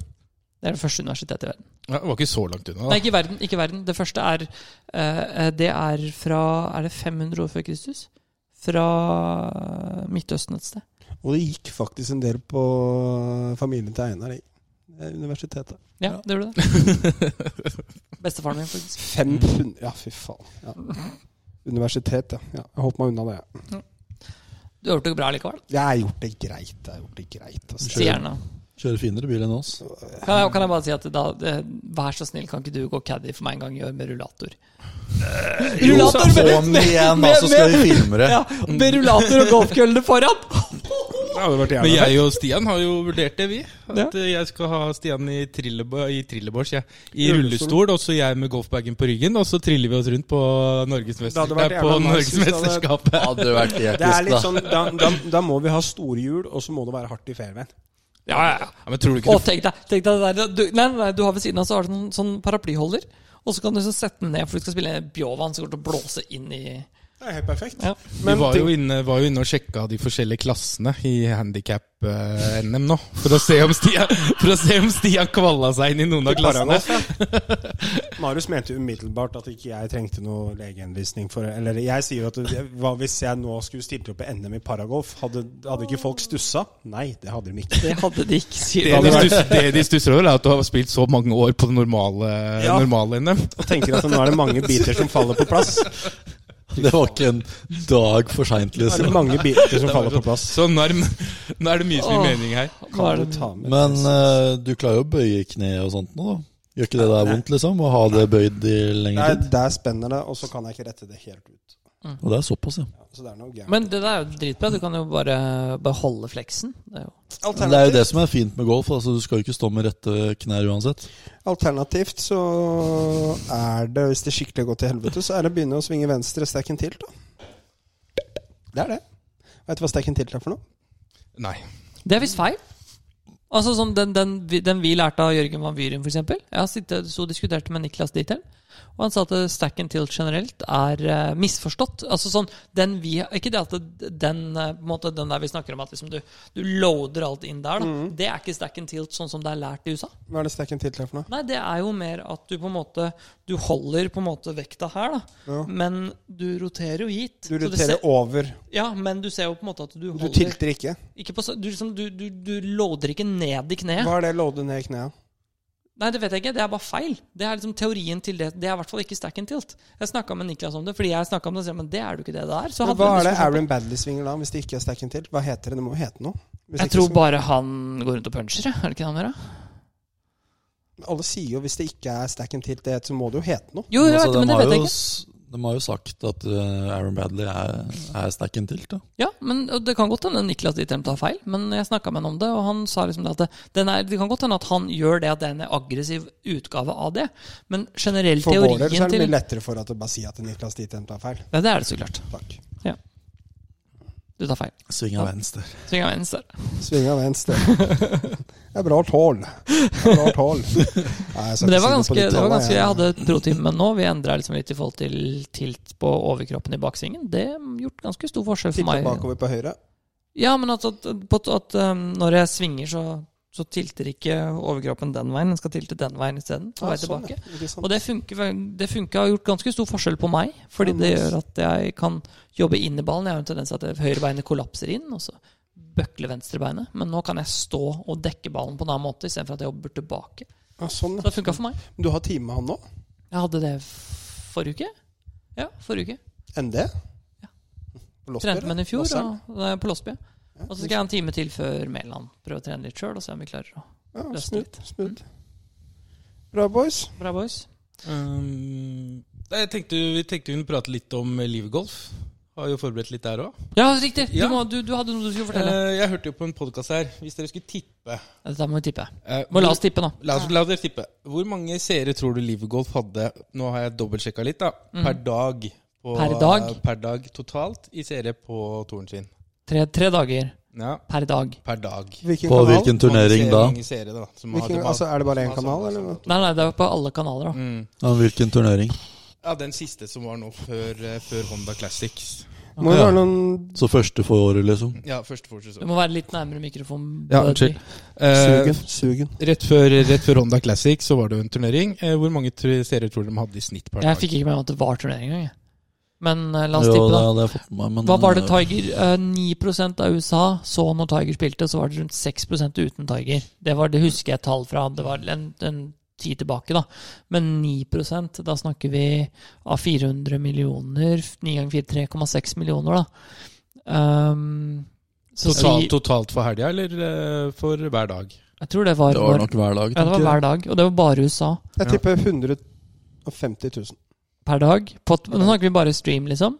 Det er det første universitetet i verden.
Ja, det var ikke så langt unna,
Nei,
da.
ikke verden. ikke verden. Det første er eh, Det er fra Er det 500 år før Kristus? Fra Midtøsten et sted.
Og det gikk faktisk en del på familien til Einar i eh, universitetet.
Ja, det gjorde det. Bestefaren min, faktisk.
500 Ja, fy faen. Ja. Universitet, ja. ja. Jeg holdt meg unna det. jeg.
Du overtok bra likevel.
Jeg har gjort det greit. Jeg har gjort det greit.
Si gjerne.
Kjører finere bil enn oss.
Kan jeg, kan jeg bare si at da, det- vær så snill, kan ikke du gå caddy for meg en gang i år med rullator? Rullator med-
Kom igjen, da,
med-
så skal
med-
vi filme det.
Ja, med rullator og golfkøllene foran!
Det hadde vært
Men jeg og Stian har jo vurdert det, vi. At eh, jeg skal ha Stian i, trilleba, i trillebårs, jeg. I rullestol, og så jeg med golfbagen på ryggen. Og så triller vi oss rundt på
hadde vært
Norgesmesterskapet.
jævla
På
nice hvis det hadde-
Norgesmesterskapet.
Hadde vært
Det er litt
episk, da.
sånn, da, da, da må vi ha store hjul, og så må det være hardt i fairwayen.
Ja, ja, ja.
Ja, men tror du ikke
Og
du
tenk deg, tenk deg det der, du, nei, nei, nei, du har ved siden av så har du en sånn paraplyholder. Og så kan du så sette den ned, for du skal spille Bjovan som går til å blåse inn i
Det er helt perfekt.
ja.
Vi
Men
var jo,
tenk-
inne, var jo inne og sjekka de forskjellige klassene i handikap-NM nå. For å, se om Stian, for å se om Stian kvala seg inn i noen av klassene.
Paragraf, ja. Marius mente umiddelbart at ikke jeg trengte noe legeinnvisning for Eller jeg sier jo at det- hva hvis jeg nå skulle stilt opp i NM i paragolf? Hadde, hadde ikke folk stussa? Nei, det hadde de ikke.
Det hadde de ikke, sier
Det de,
han.
stusser, det de stusser over, er at du har spilt så mange år på det normale,
Ja.
normale NM.
Og tenker at nå er det mange biter som faller på plass.
Det var ikke en dag for seint,
Nå er det
liksom.
mange biter som faller på plass.
Så nå er, det, nå er det mye som gir
Åh.
mening her.
Nå er
Kan du
det-
ta med
Men
det?
eh, du klarer jo å bøye kne og sånt nå, da. Gjør ikke det der vondt, liksom? Å ha det bøyd i lengre
Nei,
tid?
der spenner det, og så kan jeg ikke rette det helt ut.
Og det er såpass, ja.
Ja, Så det er noe gærent.
Men det der er jo dritbra. Du kan jo bare beholde fleksen. Det er jo.
Men det er jo det som er fint med golf. Altså, du skal jo ikke stå med rette knær uansett.
Alternativt så er det, hvis det skikkelig går til helvete, så er det å begynne å svinge venstre stekken til, da. Det er det. Veit du hva stekken til er for noe?
Nei.
Det er visst feil. Altså sånn den, den, vi- den vi lærte av Jørgen van Vyren, f.eks. Jeg har sittet, så diskuterte med Niklas Ditel, og han sa at eh, stack and tilt generelt er eh, misforstått. Altså sånn, den vi, Ikke det at det- den, eh, på en måte, den der vi snakker om at liksom du, du loader alt inn der, da.
Mm.
det er ikke stack and tilt sånn som det er lært i USA.
Hva er det stacken til for noe?
Nei, det er jo mer at du på en måte Du holder på en måte vekta her, da.
Ja.
Men du roterer jo hit.
Du
Så det
roterer
ser,
over.
Ja, men du ser jo på en måte at du
Du
holder
tilter ikke.
ikke på, så- du, liksom, du, du, du loader ikke ned i kneet.
Hva er det loadet ned i kneet?
Nei, det vet jeg ikke. Det er bare feil. Det er liksom teorien til det. Det er i hvert fall ikke stack and tilt. Jeg snakka med Niklas om det, fordi jeg snakket om det og sa men det er du ikke det det er. Så
Men
hadde liksom
Hva er
vi en
det
diskusjon på-
Aaron Badley svinger da, hvis det ikke er stacken til? Hva heter det? Det må jo hete noe. Hvis
Jeg
ikke
tror
så-
bare han går rundt og puncher, jeg. er det ikke det han gjør? da?
Alle sier jo hvis det ikke er stacken til det, så må det jo hete noe.
Jo, jeg vet,
Altså,
det,
de
men det
har
vet jeg
jo
ikke.
s- De har jo sagt at eh, Aaron Badley er, er stacken tilt. Da.
Ja, men og Det kan godt hende Niklas Ditrem tar feil, men jeg snakka med han om det, og han sa liksom det at det, den er, det kan godt hende at han gjør det at det er en aggressiv utgave av det, men generell
For vår del så
teorien
er det mye
til
lettere for at å bare si at Niklas Dietem tar feil.
Ja, det er det så klart.
Takk.
Du tar feil.
Sving av venstre.
Sving av venstre.
Svinga venstre. Det er bra tål. Det er bra tål. Nei, jeg skal
Men det
ikke si
var
noe på de
ganske, det var
tallene,
ganske Jeg hadde protime, men nå vi endra liksom litt i forhold til tilt på overkroppen i baksvingen. Det har gjort ganske stor forskjell for
Titter
meg.
bakover på høyre.
Ja, men at, at, på, at um, når jeg svinger, så, så tilter ikke overkroppen den veien. Den skal tilte den veien isteden. På
Ja,
vei
sånn,
tilbake.
ja. Ikke sant.
Og det funker, vel- det funker har gjort ganske stor forskjell på meg. Fordi
Ja,
det
nice.
gjør at jeg kan jobbe inn i ballen. Jeg har jo en tendens til at det høyrebeinet kollapser inn, og så bøkler venstrebeinet. Men nå kan jeg stå og dekke ballen på en annen måte, istedenfor at jeg jobber tilbake.
Ja, sånn,
Så
ja.
det funka for meg.
Du har time med han nå?
Jeg hadde det f- forrige uke. Ja, forrige uke.
ND?
Ja.
På Losby,
Trente med den i fjor
Lasseren?
og, nei, på Låsby. Og så skal jeg ha en time til før Mæland. Prøve å trene litt sjøl og se om vi klarer å
Ja,
løste
smooth, smooth. Bra, boys.
Bra, boys.
Um, nei, jeg tenkte, vi tenkte vi kunne prate litt om eh, livgolf. Har jo forberedt litt der òg.
Ja, riktig! Du,
Ja. Eh.
må, du, du hadde noe du skulle fortelle.
jeg hørte jo på en podkast her. Hvis dere skulle tippe
Dette må vi tippe.
eh,
Må la oss tippe nå.
La oss la dere tippe. Hvor mange seere tror du Livgolf hadde Nå har jeg dobbeltsjekka litt, da. Per dag. på-
Mm. Per dag?
eh, Per dag totalt i seere på turen sin.
Tre, tre dager
Ja,
per dag.
per dag.
Hvilken
På
kanal?
hvilken turnering
mange seere, Mange seere,
da?
da som har-
Hvilken,
som har-
altså, er det bare
som
én
har
kanal,
samlet-
eller? hva?
Nei, nei, det er jo på alle kanaler, da.
Mm.
Ja, hvilken turnering?
Ja, den siste som var nå før, eh, før Honda Classics.
Må jo
Ja.
være noen
Så første for året, liksom.
Ja, første
Du
forsesong.
må være litt nærmere mikrofonen.
Ja,
buddy.
unnskyld. Eh,
Sugen. Sugen.
rett, før, rett før Honda Classics så var det jo en turnering. Eh, hvor mange tr- seere tror dere de hadde i snitt per dag?
Jeg fikk ikke med meg at det var turnering engang. jeg. Men eh, la oss
Jo,
tippe,
det
da.
hadde jeg fått med meg, men
Hva var det
eh,
Tiger eh, 9 av USA så når Tiger spilte, så var det rundt 6 uten Tiger. Det var, det husker jeg et tall fra. Det var en, en tid tilbake, da. Men 9 da snakker vi av 400 millioner. 9 ganger 4 3,6 millioner, da. Um, så
Totalt,
si,
totalt for helga, eller eh, for hver dag?
jeg tror det var,
Det var nok hver dag.
ja, det var
tenker jeg.
hver dag. Og det var bare USA
Jeg
Ja.
tipper 150 000.
per dag. På, nå snakker vi bare stream, liksom.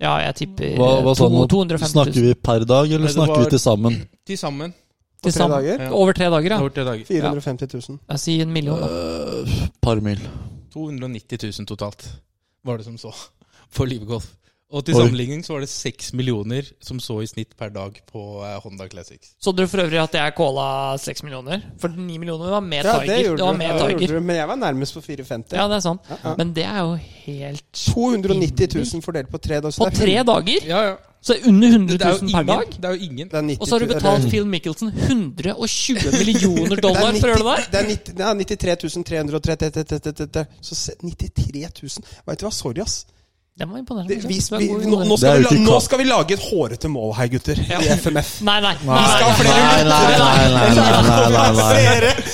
Ja, jeg tipper
Hva, hva sa
to-
du nå?
250 000
Snakker vi per dag, eller
Nei, det
snakker
var-
vi til sammen?
Til sammen.
På
til
tre
sammen.
dager?
Ja.
Over tre dager,
Det
ja.
var tre dager.
450 000.
Jeg sier en million, da.
Eh, par mil.
290 000 totalt var det som så på Livegolf. Og til
Oi.
sammenligning så var det 6 millioner som så i snitt per dag på eh, Honda Classics.
Så dere for øvrig at jeg calla 6 millioner? For 9 millioner var med
Ja, det
Tiger. Det,
gjorde
var
du.
med
Ja, det
Tiger.
gjorde du. Men jeg var nærmest på 450.
Ja, det er sant.
Ja, ja.
Men det er jo helt
290 000 fordelt på tre dager. så
På
det er
tre
100
dager?
Ja, ja.
Så under 100
Det er
000
jo
per
ingen.
dag?
Det er jo ingen.
Det er 90
Og så har du betalt Phil Mickelson 120 millioner dollar for å gjøre det der?
Det er 90, ja, 93 333 Så se- 93 000 Vet du hva, sorry, ass.
Den var imponerende.
Det, vi,
Det var
vi,
god
nå, nå,
underholdning.
skal vi la,
Det er jo ikke
nå
kast.
skal vi lage et hårete mål her, gutter. I FMF.
Nei, nei. nei,
Vi skal ha
nei,
flere
nei,
runder.
nei, nei.
nei, nei,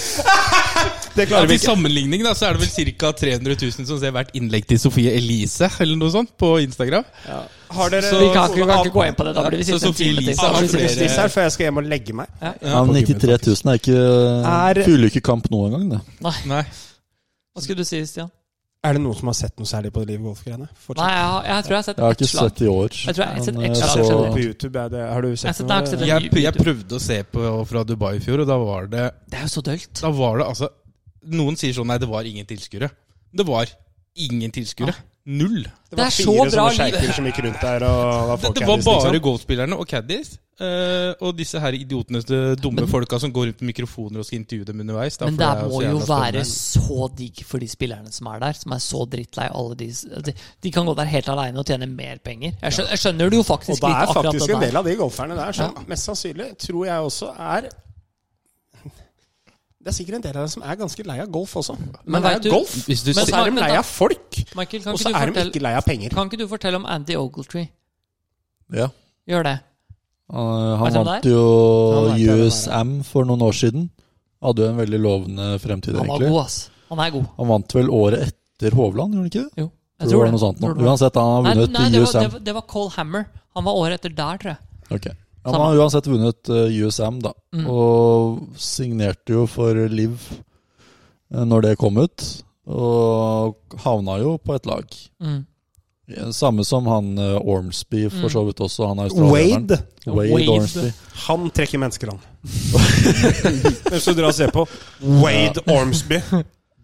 Det
Ja,
klarer vi
til
ikke.
sammenligning da, så er det vel ca. 300 000 som ser hvert innlegg til Sofie Elise eller noe sånt på Instagram.
Har dere
Vi kan ikke, vi kan ikke gå inn på det. Da blir vi
Så
sittende en
Sophie
time til.
Elise har
Da blir vi sittende-
flere-
Avslutningsvis her, før jeg skal hjem og legge meg.
Ja, men 93 000 er ikke
Er-
Fyller ikke kamp nå engang, det.
Nei.
Hva skulle du si, Stian?
Er det noen som har sett noe særlig på det Liv Golf-greiene?
Nei,
Fortsett.
jeg, har- jeg tror jeg har sett
Jeg har
ett
ikke
slag.
sett i år.
Jeg tror jeg har sett
men,
ett
eh,
slag
så-
På
generelt.
YouTube er det, har du
Jeg har
sett
sett-
noe?
jeg har ikke sett-
Jeg, jeg prøvde å se på fra Dubai i fjor, og da var det
Det er jo så dølt.
Da var det altså Noen sier sånn Nei, det var ingen tilskuere. Det var ingen tilskuere.
Ah.
Null.
var
Det er så
fire
bra
sånne
liv.
sjeiker som gikk rundt der og var
Det, det
folk
var
her, liksom.
bare golfspillerne og caddies. eh, og disse her idiotene, de dumme folka som går rundt med mikrofoner og skal intervjue dem underveis. Da,
Men
for
det
er
må
så
jo
jævla spennende.
være så digg for de spillerne som er der, som er så drittlei alle de De, de kan gå der helt aleine og tjene mer penger. Jeg skjønner, jeg skjønner det jo
Og
faktisk
det
litt
er
akkurat
faktisk
det
en
der.
del av de golferne der som mest sannsynlig, tror jeg også, er Det er sikkert en del av dem som er ganske lei av golf også. Men, det
vet
er
du-
golf, og
Hvis du
Men
så er de lei av folk.
Michael, kan
Og
ikke,
så
du
er de
fortelle,
ikke lei av penger.
kan ikke du fortelle om Andy Ogletree?
Ja.
Gjør det. Vet
Han, han
du hvem
vant
det
jo
Han vant, ja, det var det.
USM for noen år siden. Hadde jo en veldig lovende fremtid,
Han var
egentlig.
god, ass. Han er god.
Han vant vel året etter Hovland, gjorde han ikke det?
Jo.
Tror det var noe sånt nå.
Tror det var-
Uansett, han har
Nei,
vunnet
nei, det, var, det,
USM.
var, det var Cole Hammer. Han var året etter der, tror jeg.
Ok. Han
Samme.
har uansett vunnet eh, USM, da.
Mm.
Og signerte jo for Liv eh, når det kom ut. Og havna jo på et lag.
Mm.
Samme som han eh, Ormsby, for så vidt også. Han australieren.
Wade,
Wade,
Wade.
Ormsby.
han trekker mennesker, han. Hvis du drar og ser på Wade Ormsby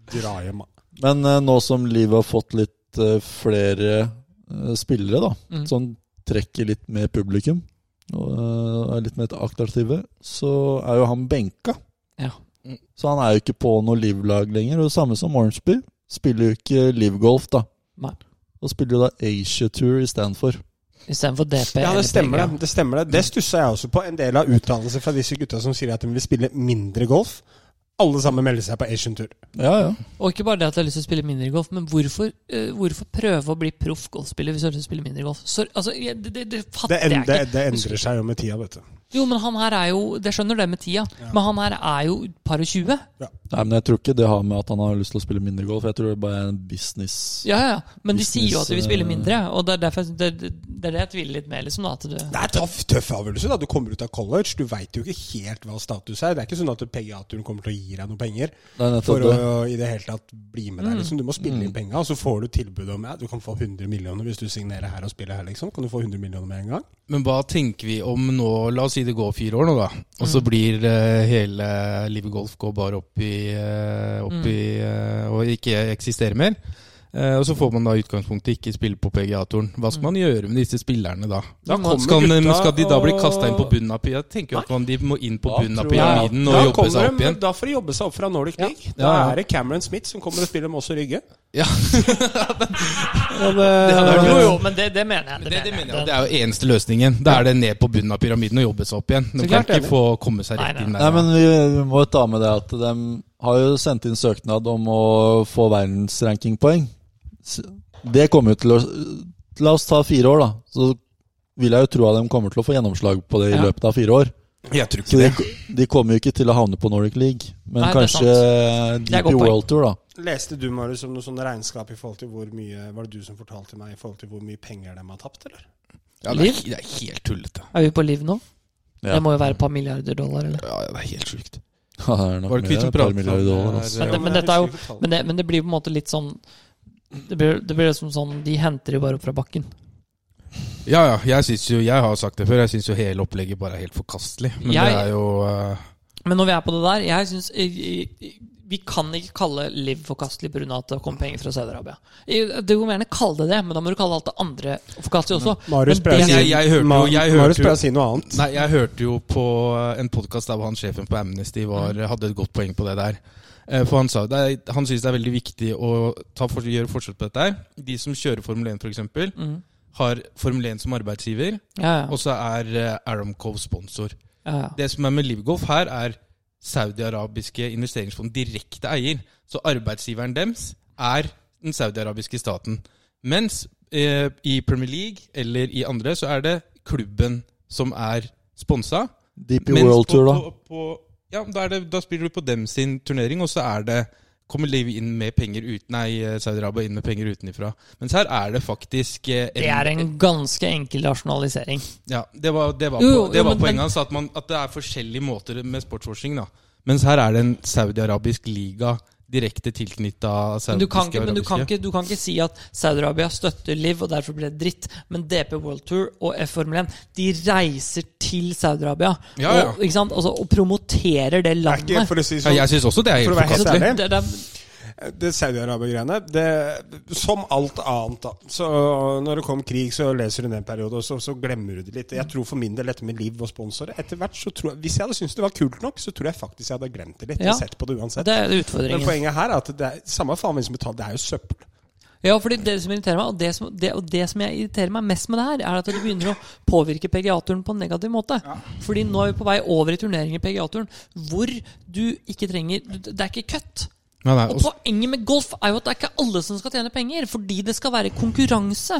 Dra hjem, da.
Men eh, nå som Liv har fått litt eh, flere eh, spillere, da,
Mm.
som trekker litt mer publikum, og eh, er litt mer attraktive, så er jo han benka.
Ja.
Mm.
Så han er jo ikke på noe Liv-lag lenger. Og det samme som Ormsby. Spiller jo ikke Liv-golf, da.
Nei.
Og spiller jo da Asia Tour istedenfor.
Istedenfor DP.
Ja,
eller
det stemmer
PGA.
det. Det stemmer Det Det stussa jeg også på. En del av uttalelser fra disse gutta som sier at de vil spille mindre golf. Alle sammen melder seg på Asian Tour.
Ja, ja.
Og ikke bare det at jeg har lyst til å spille mindre golf, men hvorfor, eh, hvorfor prøve å bli proff golfspiller hvis du har lyst til å spille mindre golf? Så, altså, jeg- det, det, det fatter
Det, en, det,
jeg ikke.
det endrer seg jo med tida, vet du.
Jo, men han her er jo Det skjønner det med tida, men han her er jo et par og tjue.
Nei, men jeg tror ikke det har med at han har lyst til å spille mindre golf. Jeg tror det bare er en business.
Ja, ja, ja. Men de sier jo at de vil spille
Business, eh,
mindre, og det er derfor det, det, det er det jeg tviler litt med, liksom. da, at du...
Det er tøff, tøff avgjørelse. da Du kommer ut av college, du veit jo ikke helt hva status er. Det er ikke sånn at PGA-turen kommer til å gi deg noen penger
Det er nettopp
for
Sånn
å
det.
i det hele tatt bli med
Mm.
der. Liksom. Du må spille
Mm.
inn penga, og så får du tilbud om ja, du kan få 100 millioner hvis du signerer her og spiller her, liksom. Kan du få 100 millioner med en gang?
Men hva tenker vi om nå La oss si det går fire år nå, da. Og så blir eh, hele Live Golf går bare opp i, eh, opp i eh, Og ikke eksisterer mer. Eh, og så får man da i utgangspunktet ikke spille på PGA-toren. Hva skal man gjøre med disse spillerne da?
Da kommer
Mm. skal,
gutta
skal de da bli
og-
kasta inn på bunnen av pyramiden? Jeg tenker jo at man, de må inn på
Da
bunnen av
tror jeg-
pyramiden og jobbe
kommer
seg opp
de-
igjen.
Da får de jobbe seg opp fra Nordic League. Da
Ja, ja.
er det Cameron Smith som kommer og spiller med oss og Rygge.
Ja.
Jo, jo, men det, det mener jeg.
Eh, Det, det, mener jeg,
jeg.
det er jo eneste løsningen. Da er det ned på bunnen av pyramiden og jobbe seg opp igjen. De
Så
kan
klart
ikke
enig.
få komme seg
Nei,
rett
nei.
inn der.
Nei, men vi, vi må ta med det at de har jo sendt inn søknad om å få verdensrankingpoeng. S- Det kommer jo til å La oss ta fire år, da. Så vil jeg jo tro at de kommer til å få gjennomslag på det i
Ja.
løpet av fire år.
Jeg tror
Så de, de kommer jo ikke til å havne på Nordic League, men
Nei, det er
kanskje
Det er
DP
godt poeng.
World Tour, da.
Leste du Marius, om noe sånn regnskap i forhold til hvor mye Var det du som fortalte meg i forhold til hvor mye penger de har tapt, eller?
Ja, det, er, det er helt tullete.
Er vi på liv nå?
Ja.
Det må jo være et par milliarder dollar, eller?
Ja, ja, det er helt sjukt.
Ja, det er nok
Var det ikke vi
mer,
som
et par
pratet om
milliarder
det
dollar.
her?
Altså.
Men,
Ja,
det, men
jeg
dette er jo
husker ikke tallet.
men det, men det blir på en måte litt sånn Det blir, det blir liksom sånn De henter det bare opp fra bakken.
Ja, ja. Jeg, synes jo, jeg har sagt det før. Jeg syns jo hele opplegget bare er helt forkastelig. Men
Jeg-
det er jo eh,
Men når vi er på det der Jeg synes i- i- Vi kan ikke kalle Liv forkastelig pga. at det kom penger fra Saudi-Arabia. I- Du må gjerne kalle det det, men da må du kalle alt det andre forkastelig også.
Marius
men
pleier å
det,
si-
jeg- jeg hørte jo-
Ma-
jeg
Marius
hørte jo-
pleier å si noe annet.
Nei, jeg hørte jo på eh, en podkast der hvor han sjefen på Amnesty var,
Mm.
hadde et godt poeng på det der. Eh, For han sa det er, han syns det er veldig viktig å ta, for, gjøre forskjell på dette her. De som kjører Formel 1, f.eks.,
Mm.
har Formel 1 som arbeidsgiver,
ja, ja,
og så er eh, Aramco sponsor.
ja, ja.
Det som er med Livgolf her, er saudi-arabiske investeringsfond direkte eier. Så arbeidsgiveren deres er den saudi-arabiske staten. Mens eh, i Premier League eller i andre, så er det klubben som er sponsa.
DP
mens
World
på-
Tour, da.
På, på, ja, da, er det, da spiller du på dem sin turnering, og så er det Kommer Liv inn med penger ut, Nei, eh, Saudi-Arabia inn med penger utenfra. Mens her er det faktisk eh,
det er en ganske enkel rasjonalisering.
ja, det var, det var,
Jo, jo,
på- det
jo,
var
men-
poenget hans. At, man- at det er forskjellige måter med sportswashing. da Mens her er det en saudi-arabisk liga direkte tilknytta
Men du kan
saudiske
ikke, men du kan
arabiske.
ikke, du kan ikke si at Saudi-Arabia støtter Liv, og derfor blir det dritt. Men DP World Tour og F-Formel 1 de reiser til Saudi-Arabia
Ja, ja.
og, ikke sant? Altså, og promoterer det
Det er ikke
landet.
for å si
Ja,
sånn
jeg syns også det er
For å
helt
være helt
forkastelig.
ærlig,
Det, det,
Det Saudi-Arabia-greiene det- Som alt annet, da. Så når det kom krig, så leser du den perioden, og så, så glemmer du det litt. Jeg tror for min del dette med liv og sponsorer Etter hvert så tror jeg Hvis jeg hadde syntes det var kult nok, så tror jeg faktisk jeg hadde glemt det litt.
Ja.
Og sett på det uansett.
Det er
Men
utfordringen.
poenget her er at det er samme faen hvem som betaler, det er jo søppel.
Ja, fordi det som irriterer meg, og det som, det, og det som jeg irriterer meg mest med det her, er at det begynner å påvirke PGA-turen på en negativ måte. Fordi nå er vi på vei over i turnering i PGA-turen, hvor du ikke trenger du- Det er ikke cut.
Nei, nei,
Og
også,
poenget med golf er jo at det er ikke alle som skal tjene penger, fordi det skal være konkurranse.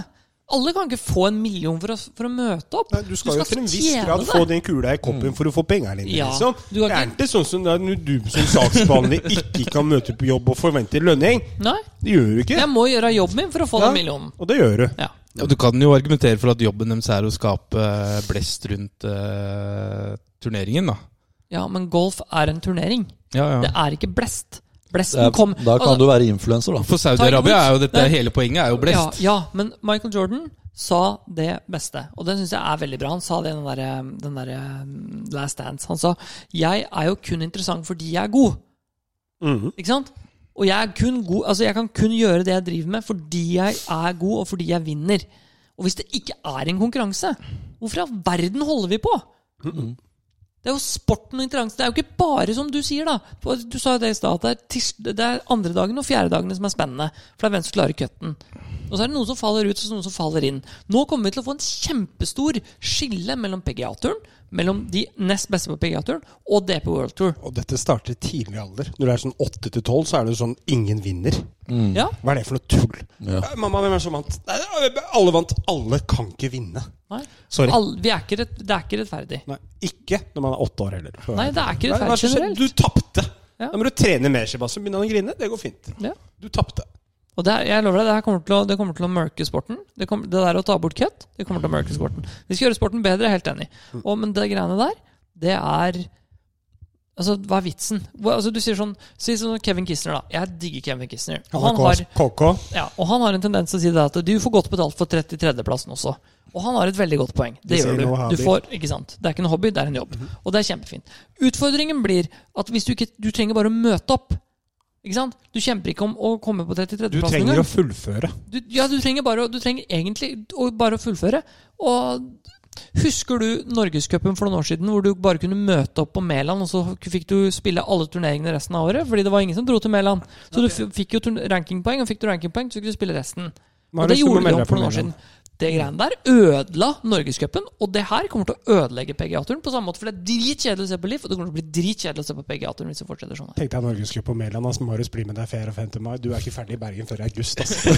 Alle kan ikke få en million for å, for å møte opp.
Nei, du, skal jo Mm. til en viss
tjene
grad
det.
få den kula i koppen for å få pengene dine.
Ja.
Liksom.
Du har
Det er
ikke-
ikke sånn som det er når du som saksbehandler ikke kan møte på jobb og forvente lønning.
Nei,
Det gjør du ikke.
jeg må gjøre jobben min for å få
Ja,
den millionen.
Og det gjør du.
Ja.
Ja, du kan jo argumentere for at jobben deres er å skape blest rundt eh, turneringen, da.
ja, men golf er en turnering.
Ja,
Det
ja.
er ikke blest. Blesten
Det er,
kom altså-
da kan du være influenser, da.
For Saudi-Arabia er jo dette
Nei.
hele poenget er jo
Ja,
blest.
ja, men Michael Jordan sa det beste, og det syns jeg er veldig bra. Han sa det i den derre den der, um, Last Dance. Han sa 'Jeg er jo kun interessant fordi jeg er god'.
Mhm.
Ikke sant? Og jeg er kun god Altså jeg kan kun gjøre det jeg driver med fordi jeg er god, og fordi jeg vinner. Og hvis det ikke er en konkurranse, hvorfor i all verden holder vi på? Det er jo sporten og interessen. Det er jo ikke bare som du sier, da. For Du sa jo det i stad, at det er, tirs- det er andre dagen og fjerde dagene som er spennende. For det er hvem som klarer cutten. Og så er det noen som faller ut, og så er det noen som faller inn. Nå kommer vi til å få en kjempestor skille mellom PGA-turen, mellom de nest beste på PGA-turen, og DP World Tour.
Og dette starter tidlig i alder. Når det er sånn 8 til 12, så er det sånn ingen vinner.
Ja?
Hva er det for noe tull?
Ja.
Eh, Mamma, hvem er det som vant? Nei, alle vant. Alle kan ikke vinne.
Nei.
Sorry.
All, vi er ikke rett, det er ikke rettferdig.
Nei, ikke når man er åtte år heller. For-
Nei, det er ikke
Nei, hva er
rettferdig
det som skjer?
generelt.
Du tapte!
Ja.
Da må du trene mer, Sebastian. Begynner han å grine? Det går fint.
Ja.
Du tapte.
Og det, er- jeg lover deg, det her kommer til å, det kommer til å mørke sporten. Det, kommer- det der å ta bort cut, det kommer til å mørke sporten. Vi skal gjøre sporten bedre, jeg er helt enig. Og, men det greiene der, det er Altså, hva er vitsen? Hva, altså, du sier sånn Si sånn Kevin Kisner, da. Jeg digger Kevin Kisner. Og han har,
KK.
ja, og han har en tendens til å si det at du får godt betalt for 33.-plassen også. Og han har et veldig godt poeng. Det
This
gjør
ain't
du.
no hobby. Mhm.
du får, ikke sant? Det er ikke noe hobby, det er en jobb. Og det er kjempefint. Utfordringen blir at hvis du ikke Du trenger bare å møte opp. Ikke sant? Du kjemper ikke om å komme på 33.-plassen
Du trenger å fullføre.
du, ja, du trenger, bare, å- du trenger egentlig å bare å fullføre. Og husker du Norgescupen for noen år siden, hvor du bare kunne møte opp på Mæland, og så fikk du spille alle turneringene resten av året? Fordi det var ingen som dro til Mæland. Så du f- fikk jo turn- rankingpoeng, og fikk du rankingpoeng, så fikk du spille resten.
Hva har
Og det
du lyst til å
gjorde de
melde
om
deg
for
på
noen år siden.
Mæland?
Det greiene der ødela Norgescupen, og det her kommer til å ødelegge PGA-turen på samme måte, for det er dritkjedelig å se på Liv, og det kommer til å bli dritkjedelig å se på PGA-turen hvis det fortsetter sånn her.
Tenk deg norgescup på Mæland. ass. Marius blir med deg 4. og 5. mai. Du er ikke ferdig i Bergen før i august, ass. Fy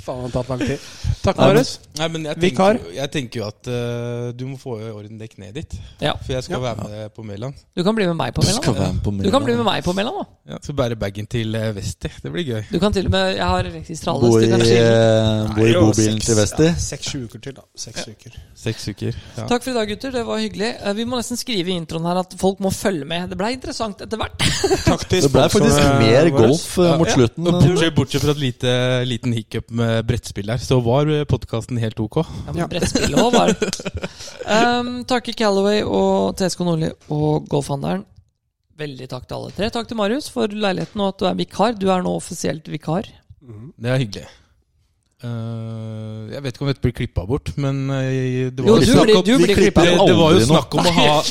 faen, det har tatt lang tid. Takk, Marius.
Nei, men jeg
Vikar?
tenker, jo- jeg tenker jo at eh, du må få i orden det kneet ditt.
Ja.
For jeg skal være med på Mæland.
Du kan bli med meg på Mæland. da. Du kan bli med meg på Mæland, da.
Ja, skal bære bagen til eh, Vesti. Det blir gøy.
Du kan til og med Jeg har elektrisk trale.
Bo
så
i,
du kan chille.
eh, bo i bobilen til Vesti.
Seks sju uker til, da. Seks uker.
Seks uker. Ja.
Takk for i dag, gutter. Det var hyggelig. Eh, Vi må nesten skrive i introen her at folk må følge med. Det ble interessant etter hvert.
Takk til
Det ble faktisk
sponsorene
mer
våre.
golf eh, mot slutten.
Og bortsett, bortsett fra et lite, liten hiccup med brettspill her, så var podkasten helt ok.
Ja, men brettspill også var um, Takke Callaway og TSK Nordli og Golfhandleren. Veldig takk til alle tre. Takk til Marius for leiligheten og at du er vikar. Du er nå offisielt vikar.
Mhm.
Det er hyggelig. Eh, jeg vet ikke om dette blir klippa bort, men eh, det
Jo,
var,
du
snakk
blir-
om-
du blir
det,
klippet
det, var jo
aldri nå.
snakk om å ha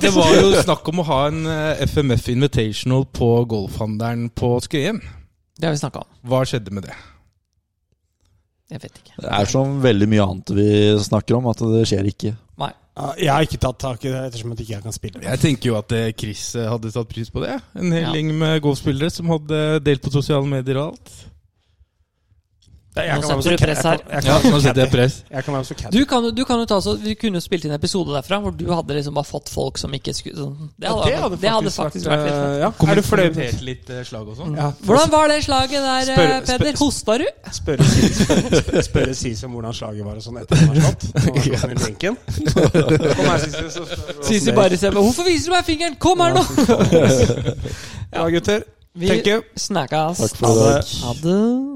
Det var jo snakk om å ha en eh, FMF Invitational på golfhandelen på Skøyen.
Det har vi snakka om.
Hva skjedde med det?
Jeg vet ikke.
Det er som veldig mye annet vi snakker om, at det skjer ikke.
Nei.
Ja, Jeg har ikke tatt tak i det, ettersom at ikke jeg kan spille.
Jeg tenker jo at eh, Chris eh, hadde satt pris på det. En hel
Ja.
gjeng med golfspillere som hadde delt på sosiale medier og alt.
Jeg
Nå
kan være med som
setter du press her.
ca- jeg kan- jeg kan
nå
være med som
setter jeg
caddy.
press.
Jeg kan være med som caddy.
Du kan, jo- du kan jo ta så, Vi kunne jo spilt inn episode derfra hvor du hadde liksom bare fått folk som ikke skulle sånn. det, hadde, det hadde faktisk vært litt fett.
eh, ja. Er du fornøyd?
Kommenterte litt eh, slag og sånn.
Ja,
Hvordan var det slaget der,
Spør-
eh, Peder?
spør-
Hosta du?
Spørre Sis spørre Sis om hvordan slaget var og sånn etter han har slått. Så han har sånn i benken. Kom her, Sisi. så spør vi
Sisi
hvordan det
bare ser på. Hvorfor viser du meg fingeren? Kom her nå!
gikk. Ja, gutter.
Vi
Thank you.
snakkes.
Takk for i dag.
Ha det.